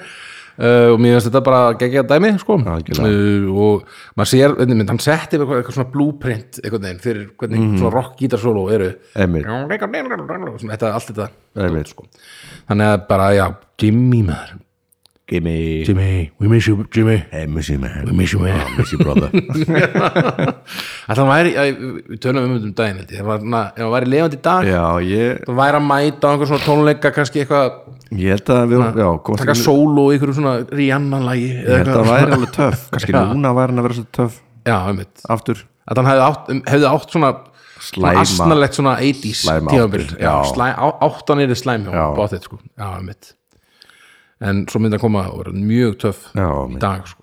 Speaker 2: Uh, og mér finnst þetta bara geggja dæmi sko.
Speaker 1: Algjörlega.
Speaker 2: uh, og maður sér einhvern veginn, hann setti eitthvað, eitthvað svona blúprint einhvern veginn fyrir hvernig svona rock gítar solo eru
Speaker 1: Einmitt.
Speaker 2: svona, þetta, allt þetta
Speaker 1: Einmitt. sko.
Speaker 2: þannig að bara, já, Jimmy maður
Speaker 1: Gimme
Speaker 2: Jimmy, we miss you Jimmy
Speaker 1: Hey, Missy man
Speaker 2: We miss you man
Speaker 1: Missy brother
Speaker 2: Þannig væri, ég, við tölum um þetta um daginn held ég. Ef hann var- ef hann væri lefandi í dag
Speaker 1: Já, ég,
Speaker 2: það væri að mæta á einhver svona tónleika kannski eitthvað,
Speaker 1: ég held að við já, komast
Speaker 2: taka
Speaker 1: ekki-
Speaker 2: sólu í einhverju svona Rihanna-lagi
Speaker 1: Ég held að það væri alveg töff Kannski
Speaker 2: Já.
Speaker 1: núna væri hann að vera svo töff
Speaker 2: Já, einmitt
Speaker 1: Aftur
Speaker 2: Að hann hefði átt, hefði átt svona
Speaker 1: Slæma-
Speaker 2: Asnalegt svona 80s
Speaker 1: Slæma
Speaker 2: tímabil
Speaker 1: áttir,
Speaker 2: Já,
Speaker 1: já.
Speaker 2: slæ, á, áttan er þið slæm hjá
Speaker 1: Já.
Speaker 2: Báþið, sko Já, einmitt En svo myndi að koma og vera mjög töff
Speaker 1: Já,
Speaker 2: í
Speaker 1: minn.
Speaker 2: dag, sko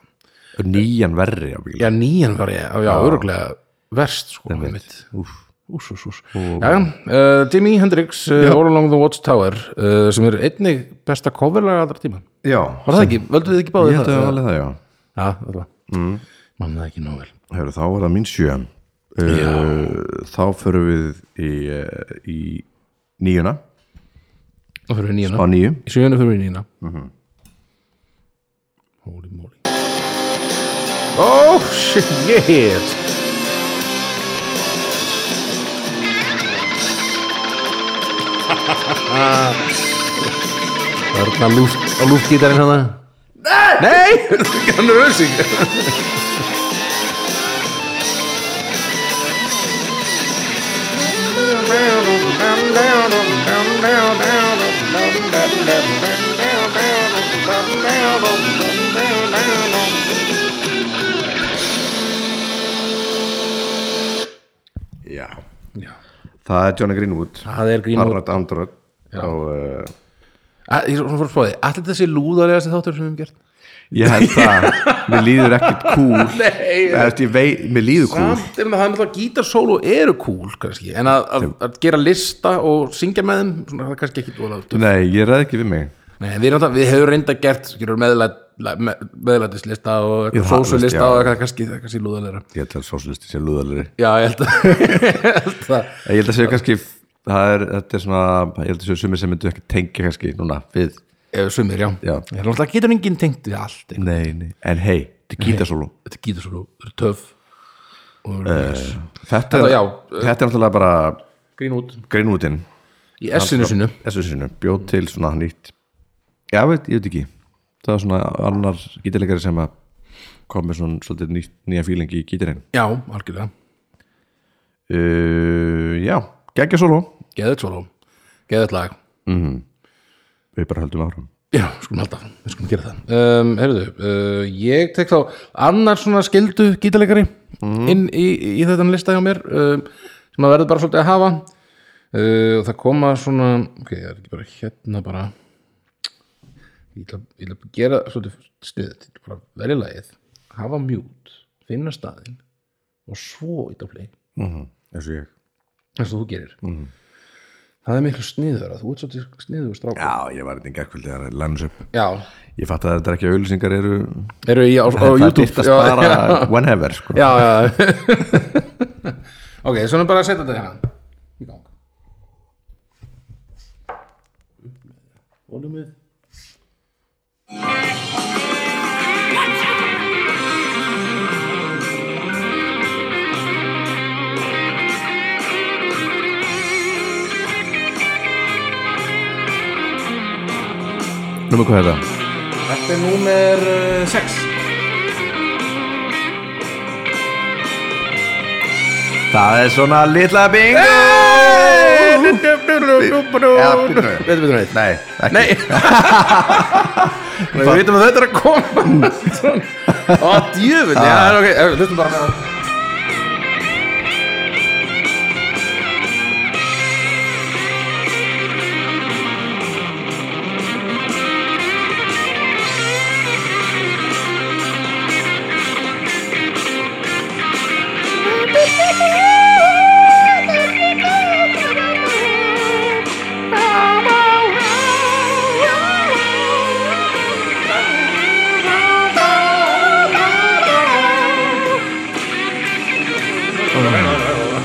Speaker 1: nýjan verri ábyggilega.
Speaker 2: Já, nýjan var ég, já, öruglega verst, sko, einmitt Ús, ús, ús Já, uh, Jimi Hendrix, uh, All Along the Watchtower uh, sem er einnig besta coverlega allra tíma
Speaker 1: Já,
Speaker 2: Var það ekki, völdu þið ekki báðið
Speaker 1: ég held að það alveg það, já
Speaker 2: Já, það var mm. Mann það ekki nóg vel
Speaker 1: Heru, Þá er það mín sjö uh, Þá förum við í, uh, í nýjuna
Speaker 2: Það fyrir við nýjana
Speaker 1: á nýju
Speaker 2: Í sjöunni fyrir við nýjana Holy moly Oh shit Þarna lúft á lúftgítarinn hana Nei, Nei! hann er ösing
Speaker 1: Já,
Speaker 2: Já.
Speaker 1: það er Johnny Greenwood
Speaker 2: Það er grín
Speaker 1: Arnold Androd og uh,
Speaker 2: Að- Ég er svona fór að spáði, allir þessi lúðarlega sem þáttur sem við hefum gert
Speaker 1: ég held að mér líður ekkert cool
Speaker 2: Nei,
Speaker 1: Eftir, ég vei, mér líður cool
Speaker 2: samt er með það er náttúrulega gítarsólu eru cool kannski, en að, að, að gera lista og syngja með þeim, svona það er kannski ekki dóla töff.
Speaker 1: Nei, ég ræð ekki við mig
Speaker 2: Nei, við, erum náttúrulega- við hefur reynda gert skilur, meðlæt, með, meðlætislista og
Speaker 1: Jú, það-
Speaker 2: sósulista
Speaker 1: já.
Speaker 2: og eitthvað kannski, það er kannski lúðarlega
Speaker 1: Ég held að sóslusti sé lúðalegri
Speaker 2: Já, ég held að, ég held að
Speaker 1: Ég held að séu kannski það er, þetta er svona, ég held að séu sumir sem myndu ekki tengja kannski núna við
Speaker 2: ef sumir, já,
Speaker 1: Já.
Speaker 2: Ég held að getur enginn tengt við allt einhvern.
Speaker 1: Nei, nei, en hei, þetta er gítasólu
Speaker 2: þetta er gítarsólu, það eru töf og
Speaker 1: Eh,
Speaker 2: uh,
Speaker 1: Þetta er,
Speaker 2: já,
Speaker 1: þetta er náttúrulega bara
Speaker 2: grín út
Speaker 1: greinútin
Speaker 2: í essinu sinu
Speaker 1: þessu sinu, bjóð til svona nýtt Já, veit, ég veit ekki það er svona annar gítarleikari sem að kom með svona svolítið nýtt, nýja fíling í gítarinn
Speaker 2: Já, algjörlega,
Speaker 1: uh, Já, geggja sólu
Speaker 2: geðið sólu geðið lag
Speaker 1: Við bara höldum áfram
Speaker 2: Já, skulum halda, við skulum gera það um, Herðu, uh, ég tek þá annar svona skildu gítarleikari inn í, í þetta lista hjá mér um, sem að verður bara svolítið að hafa uh, og það koma svona ok, það er ekki bara hérna bara ég ætla, ég ætla að gera svolítið sniðið til bara velja lagið, hafa mjút finna staðinn og svo í dafli,
Speaker 1: mm
Speaker 2: Mhm,
Speaker 1: -hmm. Þessu ég
Speaker 2: eins og þú gerir það er miklu sniður þú ert svolítið sniður strákur
Speaker 1: Já, ég var þetta í gerkvöldi að lænus upp
Speaker 2: Já,
Speaker 1: Ég fatt að þetta er ekki auðlýsingar eru
Speaker 2: eru í á, á
Speaker 1: Það
Speaker 2: YouTube
Speaker 1: byrtast
Speaker 2: Já,
Speaker 1: bara
Speaker 2: já.
Speaker 1: whenever sko.
Speaker 2: já, já ok, svona bara að setja þetta hérna í gang volumið
Speaker 1: Númer hvað er það?
Speaker 2: þetta er númer eh, 6
Speaker 1: Það er svona litla bingo Eða bingo
Speaker 2: veitum við neitt
Speaker 1: Nei, ekki Nei.
Speaker 2: við veitum að þetta er að koma ó, djöfull já,
Speaker 1: Ah.
Speaker 2: ok, eh, hlustum bara með það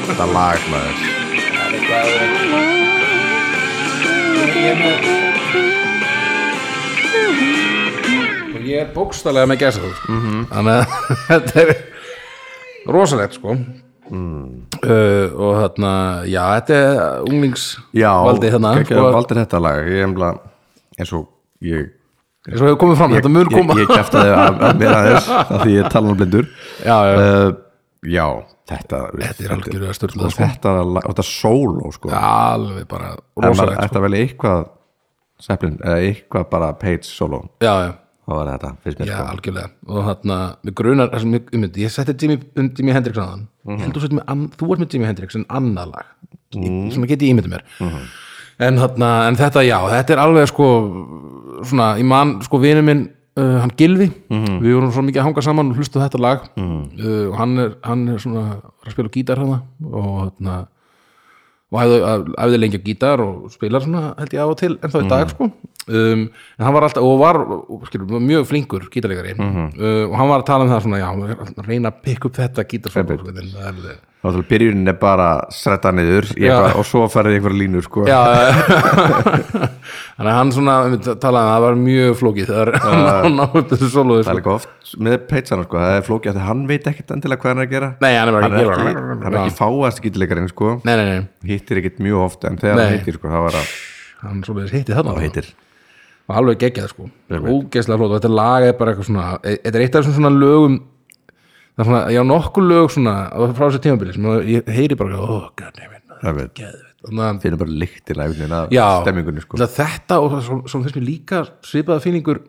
Speaker 1: Þetta lag maður
Speaker 2: og ég er bókstallega með gæsa þannig að þetta er rosalegt sko uh, og þarna já, þetta er unglingsvaldi þarna
Speaker 1: geggjað
Speaker 2: sko.
Speaker 1: að valdi þetta lag Ég emla eins og ég
Speaker 2: eins og hefur komið fram, þetta mun
Speaker 1: ég,
Speaker 2: koma
Speaker 1: ég kæfti að að mér aðeins af því ég tala um blindur
Speaker 2: já, já,
Speaker 1: uh, já, þetta þetta
Speaker 2: þetta er sko. algjörðu að styrla
Speaker 1: og þetta, lag- og þetta sóló sko.
Speaker 2: alveg bara
Speaker 1: en maður
Speaker 2: rosalegt sko.
Speaker 1: ætti að velja eitthvað Zeppelin, eða eitthvað bara Page sóló
Speaker 2: sko. já, já
Speaker 1: þá var þetta, finnst mér
Speaker 2: Já,
Speaker 1: sko
Speaker 2: algjörlega og þarna, mér grunar það sem ég, um, ég setti Jimmy, um Jimi Hendrix á þann ég held þú sett með, ann- þú ert með Jimi Hendrix en annað lag, mm. svona geti ég ímyndið mér en þarna, en þetta já þetta er alveg sko svona, ég man, sko vinur minn uh, hann Gilvi, við vorum svo mikið að hanga saman og hlusta þetta lag uh, og hann er, hann er svona, er að spila á gítar hana og þarna og æfði, æfði lengi á gítar og spilar svona held ég á og til ennþá í
Speaker 1: Mm.
Speaker 2: dag sko um, en hann var alltaf og var og, skilur, var mjög flinkur gítarleikari
Speaker 1: Mhm.
Speaker 2: uh, og hann var að tala um það svona já, hann er að reyna að pikka upp þetta gítar sko, sko, en það er-
Speaker 1: Náttúrulega byrjunin er bara sredda niður í eitthvað, og svo ferði einhverja línu sko.
Speaker 2: Já, þannig að hann svona einmitt talaði um að það var mjög flókið þegar hann á upp þessu solo
Speaker 1: það er
Speaker 2: sko.
Speaker 1: líka oft með peitsana sko. það er flókið af því að hann veit ekkert endilega hvað hann er að gera
Speaker 2: Nei, hann er bara
Speaker 1: hann er
Speaker 2: ekki,
Speaker 1: ekki, hann er ekki fáast gítileikarinn sko.
Speaker 2: Nei, nei, nei,
Speaker 1: hittir ekkert mjög oft en þegar
Speaker 2: Nei.
Speaker 1: hann hittir sko, það var að
Speaker 2: hann svo leiðis hitti þarna sko.
Speaker 1: það hittir
Speaker 2: og alveg geggjað sko ógeðslega flott og þetta lag er bara eitthvað svona e- þetta er eitt af þessum svona lögum það er svona, ég á nokkur lög svona að- frá þessu tímabili sem að ég heyri bara oh, god damn it,
Speaker 1: það veit.
Speaker 2: geðveikt." þannig að
Speaker 1: finnum bara lykt í læfnin af
Speaker 2: Já.
Speaker 1: stemmingunni sko.
Speaker 2: Ætla, þetta og svo, svo finnst mér líka svipaða finningur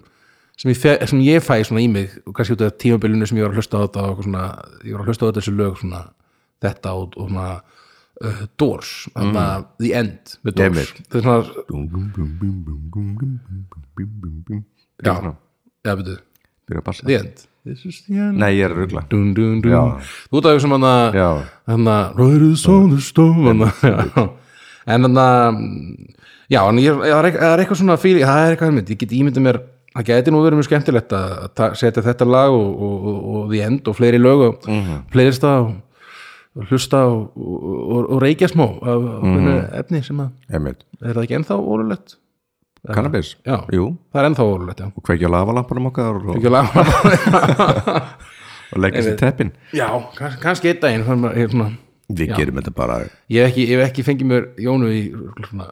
Speaker 2: sem ég, fe, sem ég fæ svona í mig og kannski út af tímabilinu sem ég var að hlusta á þetta og eitthvað svona, ég var að hlusta á þetta þessu lög svona, þetta og, og svona uh, Doors, þannig að The End með Doors,
Speaker 1: Einmitt.
Speaker 2: þetta er svona já, já, veitu,
Speaker 1: byrja að bassa
Speaker 2: The End This is the end
Speaker 1: nei ég er að ruggla
Speaker 2: dun, dun,
Speaker 1: Já.
Speaker 2: dun. þú ert að hugsa um hana
Speaker 1: Já.
Speaker 2: hana Riders on the storm hana, já. en hana já, en ég, það er eitthvað- það er eitthvað svona fíli, það er eitthvað mynd, ég get ímyndið mér það gæti nú verið mjög skemmtilegt að að ta- setja þetta lag og, og, og, og The End og fleiri lög og mm
Speaker 1: Mhm.
Speaker 2: -hmm. playlista og, og hlusta og, og, og, og reykja smá af
Speaker 1: Mhm.
Speaker 2: mm efni sem að,
Speaker 1: Einmitt.
Speaker 2: er það ekki ennþá ólulegt?
Speaker 1: cannabis,
Speaker 2: Já,
Speaker 1: jú
Speaker 2: það er ennþá ólulegt, já
Speaker 1: og kveikja lavalampanum okkar og,
Speaker 2: ekki að laga
Speaker 1: og leggja sér teppin
Speaker 2: Já, kann- kannski einn daginn þannig að ég er svona
Speaker 1: við gerum þetta bara
Speaker 2: Ég hef ekki, ég hef ekki fengið mér Jónu í svona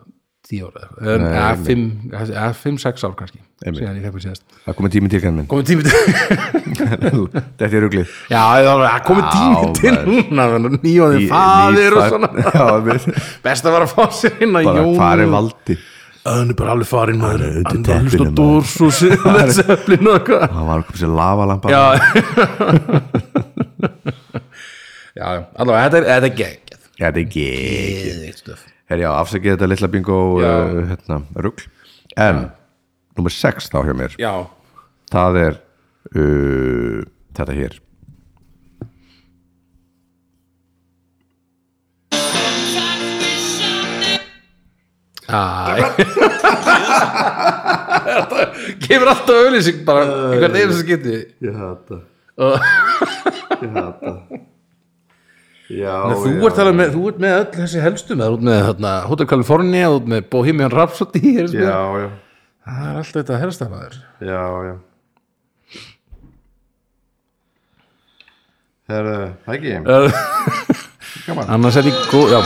Speaker 2: tíu ára eða fimm, eða fimm, sex ár kannski síðan ég fekk mér síðast
Speaker 1: það komið tími til kannin
Speaker 2: komið tími til
Speaker 1: þetta er rugglið
Speaker 2: já, það var að komið
Speaker 1: Já,
Speaker 2: tími til núna þannig að nýjóðin faðir og svona
Speaker 1: já, einmitt.
Speaker 2: best að vera að fá sér inn að
Speaker 1: bara
Speaker 2: Jónu
Speaker 1: hvað er valdi
Speaker 2: hann er bara alveg farin maður
Speaker 1: er undir
Speaker 2: hann er
Speaker 1: teppinu,
Speaker 2: hlusta
Speaker 1: maður.
Speaker 2: dórs og þessi eflin og eitthvað
Speaker 1: það var okkur sér lavalampa
Speaker 2: já já, allavega þetta er þetta er geggjað
Speaker 1: Já, þetta er ekki
Speaker 2: geðvikt stöf
Speaker 1: Herjá, afsakið þetta litla bingo
Speaker 2: Já.
Speaker 1: uh, hérna, rugl En, nummer 6 þá hjá mér
Speaker 2: já,
Speaker 1: Það er uh, þetta hér
Speaker 2: Æ Kemur alltaf auðlýsing bara í hvert einu sem geti
Speaker 1: Ég hata
Speaker 2: Og-
Speaker 1: Ég hata Já,
Speaker 2: Þú ert, alveg með, þú ert með öll þessi helstum Þú ert með þarna, Hotel California Þú ert með Bohemian Rhapsody er þessi með-
Speaker 1: já,
Speaker 2: Það er alltaf þetta helstamaður
Speaker 1: já, já. Herðu, það ekki
Speaker 2: Annars er ég góð Já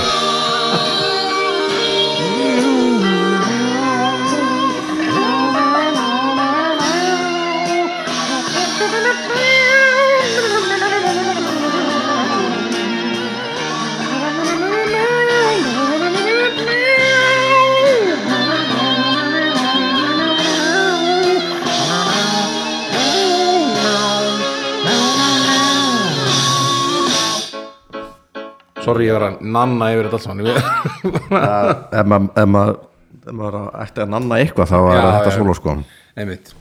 Speaker 2: Sorry, ég var að nanna yfir þetta allt saman Ég var-
Speaker 1: Ef maður ef maður ef maður ætti að nanna eitthvað þá er
Speaker 2: Já,
Speaker 1: þetta
Speaker 2: já.
Speaker 1: solo sko
Speaker 2: Einmitt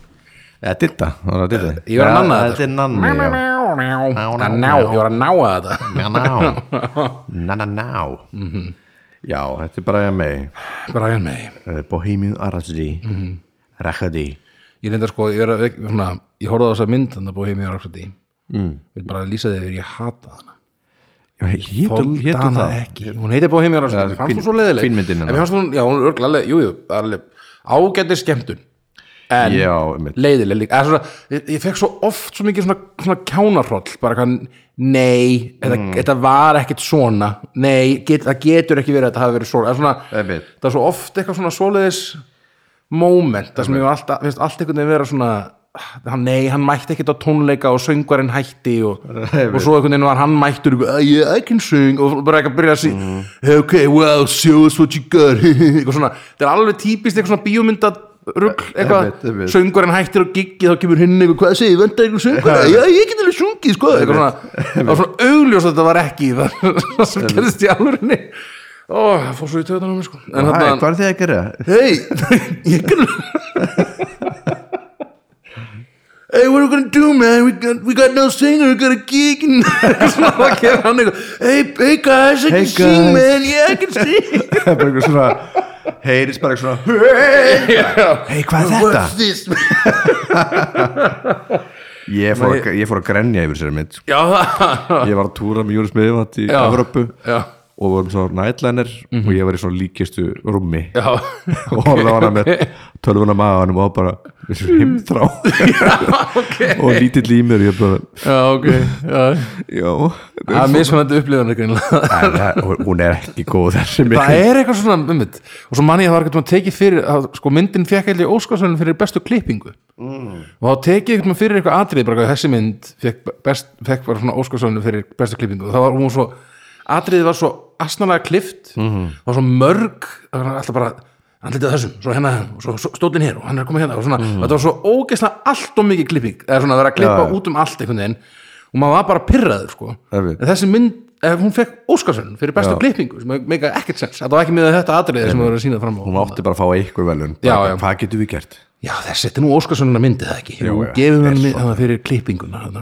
Speaker 1: Eða ditta, það var að ditta
Speaker 2: Ég var að nanna þetta,
Speaker 1: Þetta er nanni, já
Speaker 2: Að ná, ég var að ná að þetta
Speaker 1: Na ná Na na ná
Speaker 2: Mhm.
Speaker 1: Já, þetta er bara mig
Speaker 2: Brian May
Speaker 1: Eh, Bohemian Rhapsody
Speaker 2: Mhm.
Speaker 1: Rhapsody
Speaker 2: ég reynda sko, ég, er að, svona, ég horfði á þessa mynd þannig að búið heim í Rhapsody mm. vil bara lýsa þig yfir ég hata hana
Speaker 1: Hétum
Speaker 2: Þoldi hana ekki, hún heitir búið heim í Rhapsody
Speaker 1: Ja,
Speaker 2: fannst
Speaker 1: fín-
Speaker 2: hún svo leðileg
Speaker 1: fín myndin hennar.
Speaker 2: já, hún er örgulega, jú, jú, það er alveg ágættir skemmtun en
Speaker 1: Já, einmitt.
Speaker 2: leiðileg líka Eða svona, ég, ég fekk svo oft svo mikið svona, svona kjánarhroll bara kann, nei, þetta,
Speaker 1: Mm.
Speaker 2: þetta var ekkit svona nei, get, það getur ekki verið að þetta hafi verið svona, Eða svona
Speaker 1: Einmitt.
Speaker 2: það er svo oft eitthvað svona svoleiðis moment það sem ég alltaf, finnst allt einhvern veginn vera svona hann, nei, hann mætti ekkert á tónleika og söngvarinn hætti og, og svo einhvern veginn var hann mættur og eitthvað, yeah, I can sing og bara ekki að byrja að sí
Speaker 1: Mm.
Speaker 2: ok, well, show us what you got eitthvað svona, þetta er alveg típist eitthvað svona bíómynda rugl,
Speaker 1: einmitt, einmitt.
Speaker 2: eitthvað söngvarinn hættir og giggi, þá kemur hinn eitthvað, hvað segir, venda eitthvað söngvarinn já, ég get alveg sungið, sko eitthvað svona, það var svona augljós að þetta var ekki það það sem gerðist í alvörinni ó, það fór svo í töðan á mig, sko en
Speaker 1: Hæ,
Speaker 2: þarna,
Speaker 1: hvað er þið að gera?
Speaker 2: hey you can Hey, what are we gonna do, man? We got, we got no singer, we got a gig and Svona, það kemur hann eitthvað, Hey, hey guys, I
Speaker 1: Hey,
Speaker 2: can sing,
Speaker 1: guys.
Speaker 2: man Yeah, I can sing
Speaker 1: Það er bara einhver svona heyrist bara eitthvað svona Hei, hvað er þetta?
Speaker 2: What's this?
Speaker 1: Ég fór, að, ég fór að grenja yfir sér mitt
Speaker 2: Já, það-
Speaker 1: Ég var að túra með Júris Miðvætt í
Speaker 2: Já.
Speaker 1: Evropu
Speaker 2: já,
Speaker 1: og vorum svo nightliner og ég var í svona líkistu rúmi
Speaker 2: Mhm. já
Speaker 1: og horfði á hana með tölvuna maðanum og bara þessu himþrá
Speaker 2: Ok,
Speaker 1: og lítill í mér og ég bara,
Speaker 2: já, ok já.
Speaker 1: já
Speaker 2: Það er mismunandi upplifun greinlega
Speaker 1: En það- hún- hún er ekki góð þessi mér
Speaker 2: það er eitthvað svona um og svo manni ég að það var eitthvað að tekið fyrir að, sko, myndin fekk eitthvað óskarsvölin fyrir bestu klippingu
Speaker 1: Mm.
Speaker 2: og þá tekið eitthvað fyrir eitthvað atrið bara eitthvað, þessi mynd fekk, best, fekk bara svona óskarsvölin fyrir bestu klippingu og það var hún var svo atriðið var svo asnalega klift
Speaker 1: Mhm.
Speaker 2: það var svo mörg það var alltaf bara andlitið á þessum, svo hérna og svo, svo stóllinn hér og hann er að koma hérna og svona, þetta var svo ógeðslega allt og mikið klipping eða svona að vera að klippa
Speaker 1: Mhm. Já, já.
Speaker 2: út um allt einhvern veginn og maður var bara pyrraður sko
Speaker 1: Erfitt.
Speaker 2: en þessi mynd, ef hún fekk Óskarsson fyrir bestu klippingu, sem meika ekkert sens þetta var ekki með þetta atriðið sem það voru að sína fram á
Speaker 1: hún átti bara að fá einhver velun
Speaker 2: Já,
Speaker 1: Bara,
Speaker 2: já.
Speaker 1: hvað getum við gert?
Speaker 2: já þessi, þetta er nú Óskarssonuna myndið það ekki
Speaker 1: Jú,
Speaker 2: Jú,
Speaker 1: já,
Speaker 2: gefum hann mynd- hana fyrir klippinguna þarna.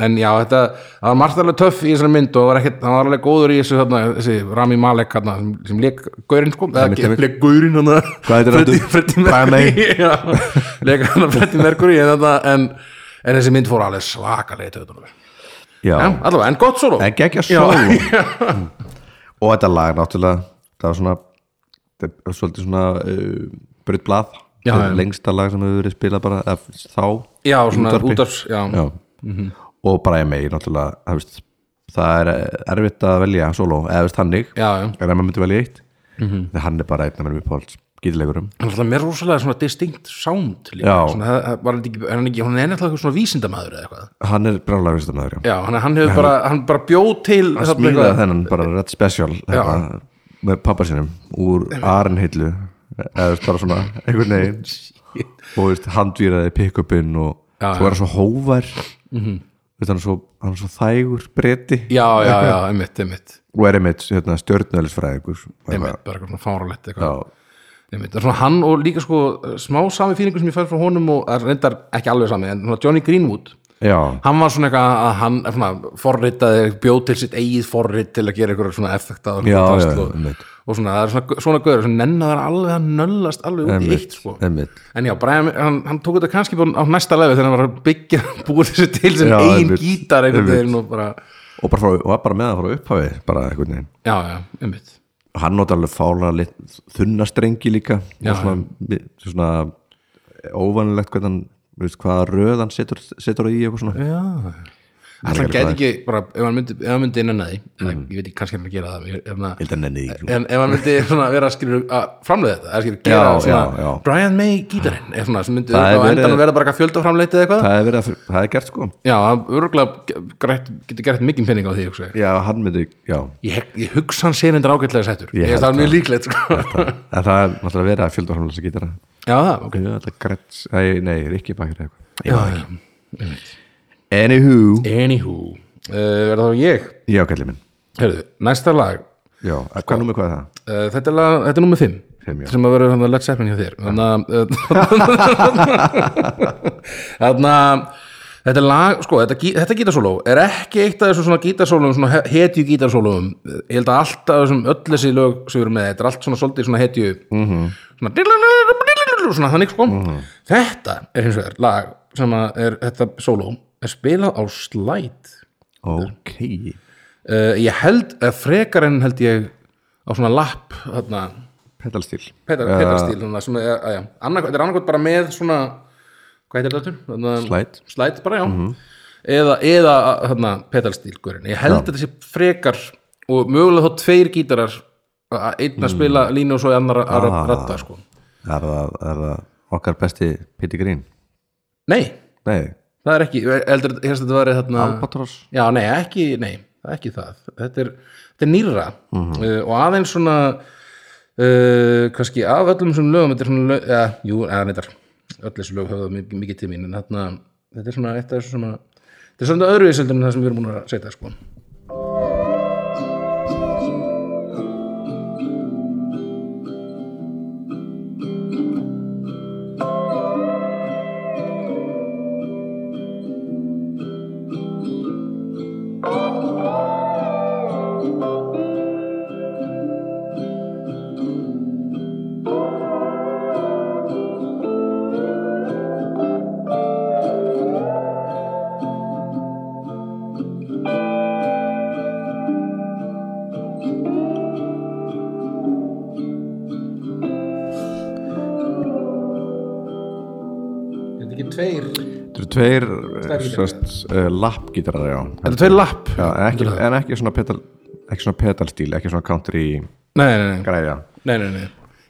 Speaker 2: en já, þetta, það var margt alveg töff í þessari mynd og var ekkert, hann var alveg góður í þessu þarna, þessi Rami Malek þarna, sem, sem leik gaurinn sko, eða ekki, leik gaurinn hann
Speaker 1: Hvað heitir hann?
Speaker 2: Freddy Mercury já, leik hann Freddy Mercury en, þarna, en, en þessi mynd fór alveg svakalega töðunum
Speaker 1: Já,
Speaker 2: Já, allavega, en gott solo
Speaker 1: ekki ekki að sól Mm. og þetta lag náttúrulega það var svona það er svolítið svona uh, brutt blað
Speaker 2: Já,
Speaker 1: Það er
Speaker 2: já.
Speaker 1: lengsta lag sem hefur verið spilað bara eða, þá
Speaker 2: Já, svona
Speaker 1: útvarpi.
Speaker 2: útvarps, já. Mhm.
Speaker 1: Já. og bara ég megi náttúrulega það, veist, það er erfitt að velja solo eða veist hannig
Speaker 2: Já, Mhm. já.
Speaker 1: en ef maður myndi velja eitt þegar hann er bara einn af mér uppáhalds gítilegurum
Speaker 2: Hann er alltaf mér rosalega svona distinct sound líka,
Speaker 1: Já.
Speaker 2: svona, það- það var hann ekki, er hann ekki, hún er alltaf eitthvað svona vísindamaður eða eitthvað
Speaker 1: hann er brjálægur vistamæður
Speaker 2: Já, hann, hann hefur bara, hann bara bjóð til þarna
Speaker 1: smíðaði
Speaker 2: eitthvað-
Speaker 1: þennan bara rétt special hérna, með pappa sinum úr Arnhillu eða veist, bara svona einhvern veginn og veist, handvíraði pick-upinn og
Speaker 2: Já, Mhm.
Speaker 1: svo er hann svo hóvar veist, hann, er svo, hann er svo þægur breyti
Speaker 2: Já, já, já, einmitt, einmitt
Speaker 1: og er einmitt hérna, stjörnöðlisfræðingur
Speaker 2: einmitt, bara eitthvað svona fáralegt eitthvað
Speaker 1: Já.
Speaker 2: einmitt, það er svona hann og líka sko smá sami fílingur sem ég fær frá honum og það er reyndar ekki alveg sami, en svona Johnny Greenwood
Speaker 1: Já,
Speaker 2: hann var svona eitthvað að hann eh, svona, forritaði, bjóð til sitt eigið forrit til að gera eitthvað svona effekta og,
Speaker 1: Já,
Speaker 2: eitthvað
Speaker 1: já,
Speaker 2: drasl
Speaker 1: já,
Speaker 2: og,
Speaker 1: einmitt.
Speaker 2: og svona, það er svona, svona gauður sem nennar alveg að nöllast alveg út í
Speaker 1: Einmitt,
Speaker 2: eitt sko.
Speaker 1: einmitt.
Speaker 2: en já, Brian, hann, hann tók þetta kannski búin á næsta lefi þegar hann var að byggja búið þessu til sem
Speaker 1: Já,
Speaker 2: eigin
Speaker 1: einmitt,
Speaker 2: gítar einhvern
Speaker 1: einmitt.
Speaker 2: veginn og bara
Speaker 1: og bara frá, og var bara með það frá upphafi bara einhvern veginn
Speaker 2: já, já, einmitt
Speaker 1: hann nota alveg fála lit- þunna strengi líka
Speaker 2: Já,
Speaker 1: og svona, mi- svona óvanilegt hvernig hann veist, hvaða röð hann setur, setur í eitthvað svona
Speaker 2: já
Speaker 1: er
Speaker 2: Ætla hann
Speaker 1: alveg
Speaker 2: gæti
Speaker 1: hvað.
Speaker 2: ekki, bara, ef hann myndi, ef hann myndi innan að því, mm. ég veit ekki kannski er hann að gera það, ég- ef hann að
Speaker 1: held að nenni því ekki sko.
Speaker 2: en ef hann myndi svona vera skilur að framleiða þetta, að skilur gera
Speaker 1: Já,
Speaker 2: svona
Speaker 1: já, já.
Speaker 2: Brian May gítarinn eða svona sem myndi
Speaker 1: Það er
Speaker 2: á
Speaker 1: verið-
Speaker 2: endanum vera bara eitthvað fjöldaframleitt eða eitthvað
Speaker 1: það er, verið að, það er gert sko
Speaker 2: já, hann örgulega grætt, getur gert mikið penning á því hugsa ég.
Speaker 1: já, hann myndi, já
Speaker 2: ég, ég hugsa hann sér endur ágætlega sættur ég,
Speaker 1: Ég held
Speaker 2: ég það er mjög líklegt sko.
Speaker 1: en það er náttúrulega verið að fjölda framlega sem getur það
Speaker 2: já, það, ok
Speaker 1: er alltaf grætt, nei, nei, Rikki Bakir eða eitthvað
Speaker 2: já, já.
Speaker 1: anywho,
Speaker 2: anywho, uh, verða þá ég
Speaker 1: já, kallið minn
Speaker 2: Heyrðu, næsta lag
Speaker 1: já,
Speaker 2: Sko.
Speaker 1: hvað númer hvað er það?
Speaker 2: Uh, þetta, er lag, þetta er nummer 5
Speaker 1: Fimm, já.
Speaker 2: sem að vera hann að Led Zeppelin hjá þér þannig að þannig að þetta er lag, sko, þetta, gí- þetta gítarsóló er ekki eitt af þessum svona gítarsólóum svona he- hetju gítarsólóum ég held að allt af þessum öll þessi lög sem við erum með þetta er allt svona svolítið svona hetju -hmm. svona, dillalalalalalalalala, svona þannig sko þetta er hins vegar lag sem að er þetta sóló er spilað á slæt
Speaker 1: ok,
Speaker 2: uh, ég held, eh, frekar en held ég á svona lapp þarna
Speaker 1: pedalstil
Speaker 2: Petar, uh, Petarstíl, svona, svona, já, eh, já, annað, þetta er annarkot bara með svona, hvað heitir þetta? Þarna-
Speaker 1: Eh, Slide.
Speaker 2: Slide bara, já. Eða, eða eh, þarna, Petarstílgurinn. Ég held þetta sé frekar eh, og mögulega þá tveir gítarar, að einn að spila línu og svo annar að ah. ratta, sko.
Speaker 1: er það, er það okkar besti Píti Grín
Speaker 2: Nei,
Speaker 1: nei,
Speaker 2: það er ekki heldur, helst þetta var þarna
Speaker 1: Uh, Albatross
Speaker 2: Já, nei, ekki, nei, það er ekki það þetta er, þetta er nýra
Speaker 1: Mhm.
Speaker 2: uh, og aðeins svona uh, kannski af öllum sem lögum þetta er svona lög, ja, jú, eða neitt öll þessu lög höfða mikið, mikið til mín en þarna, þetta er svona eitt af þessu svona þetta er svona öðruvísi heldur en það sem við erum búin að setja sko. Þetta er ekki tveir
Speaker 1: Þetta eru tveir
Speaker 2: Tvær gítarar.
Speaker 1: sest, uh, lappgítarar já.
Speaker 2: Þetta er tveir lapp
Speaker 1: Já, en, ekki, en ekki svona pedal ekki svona pedalstíl, ekki svona country
Speaker 2: Nei, nei, nei,
Speaker 1: græja
Speaker 2: nei, nei, nei.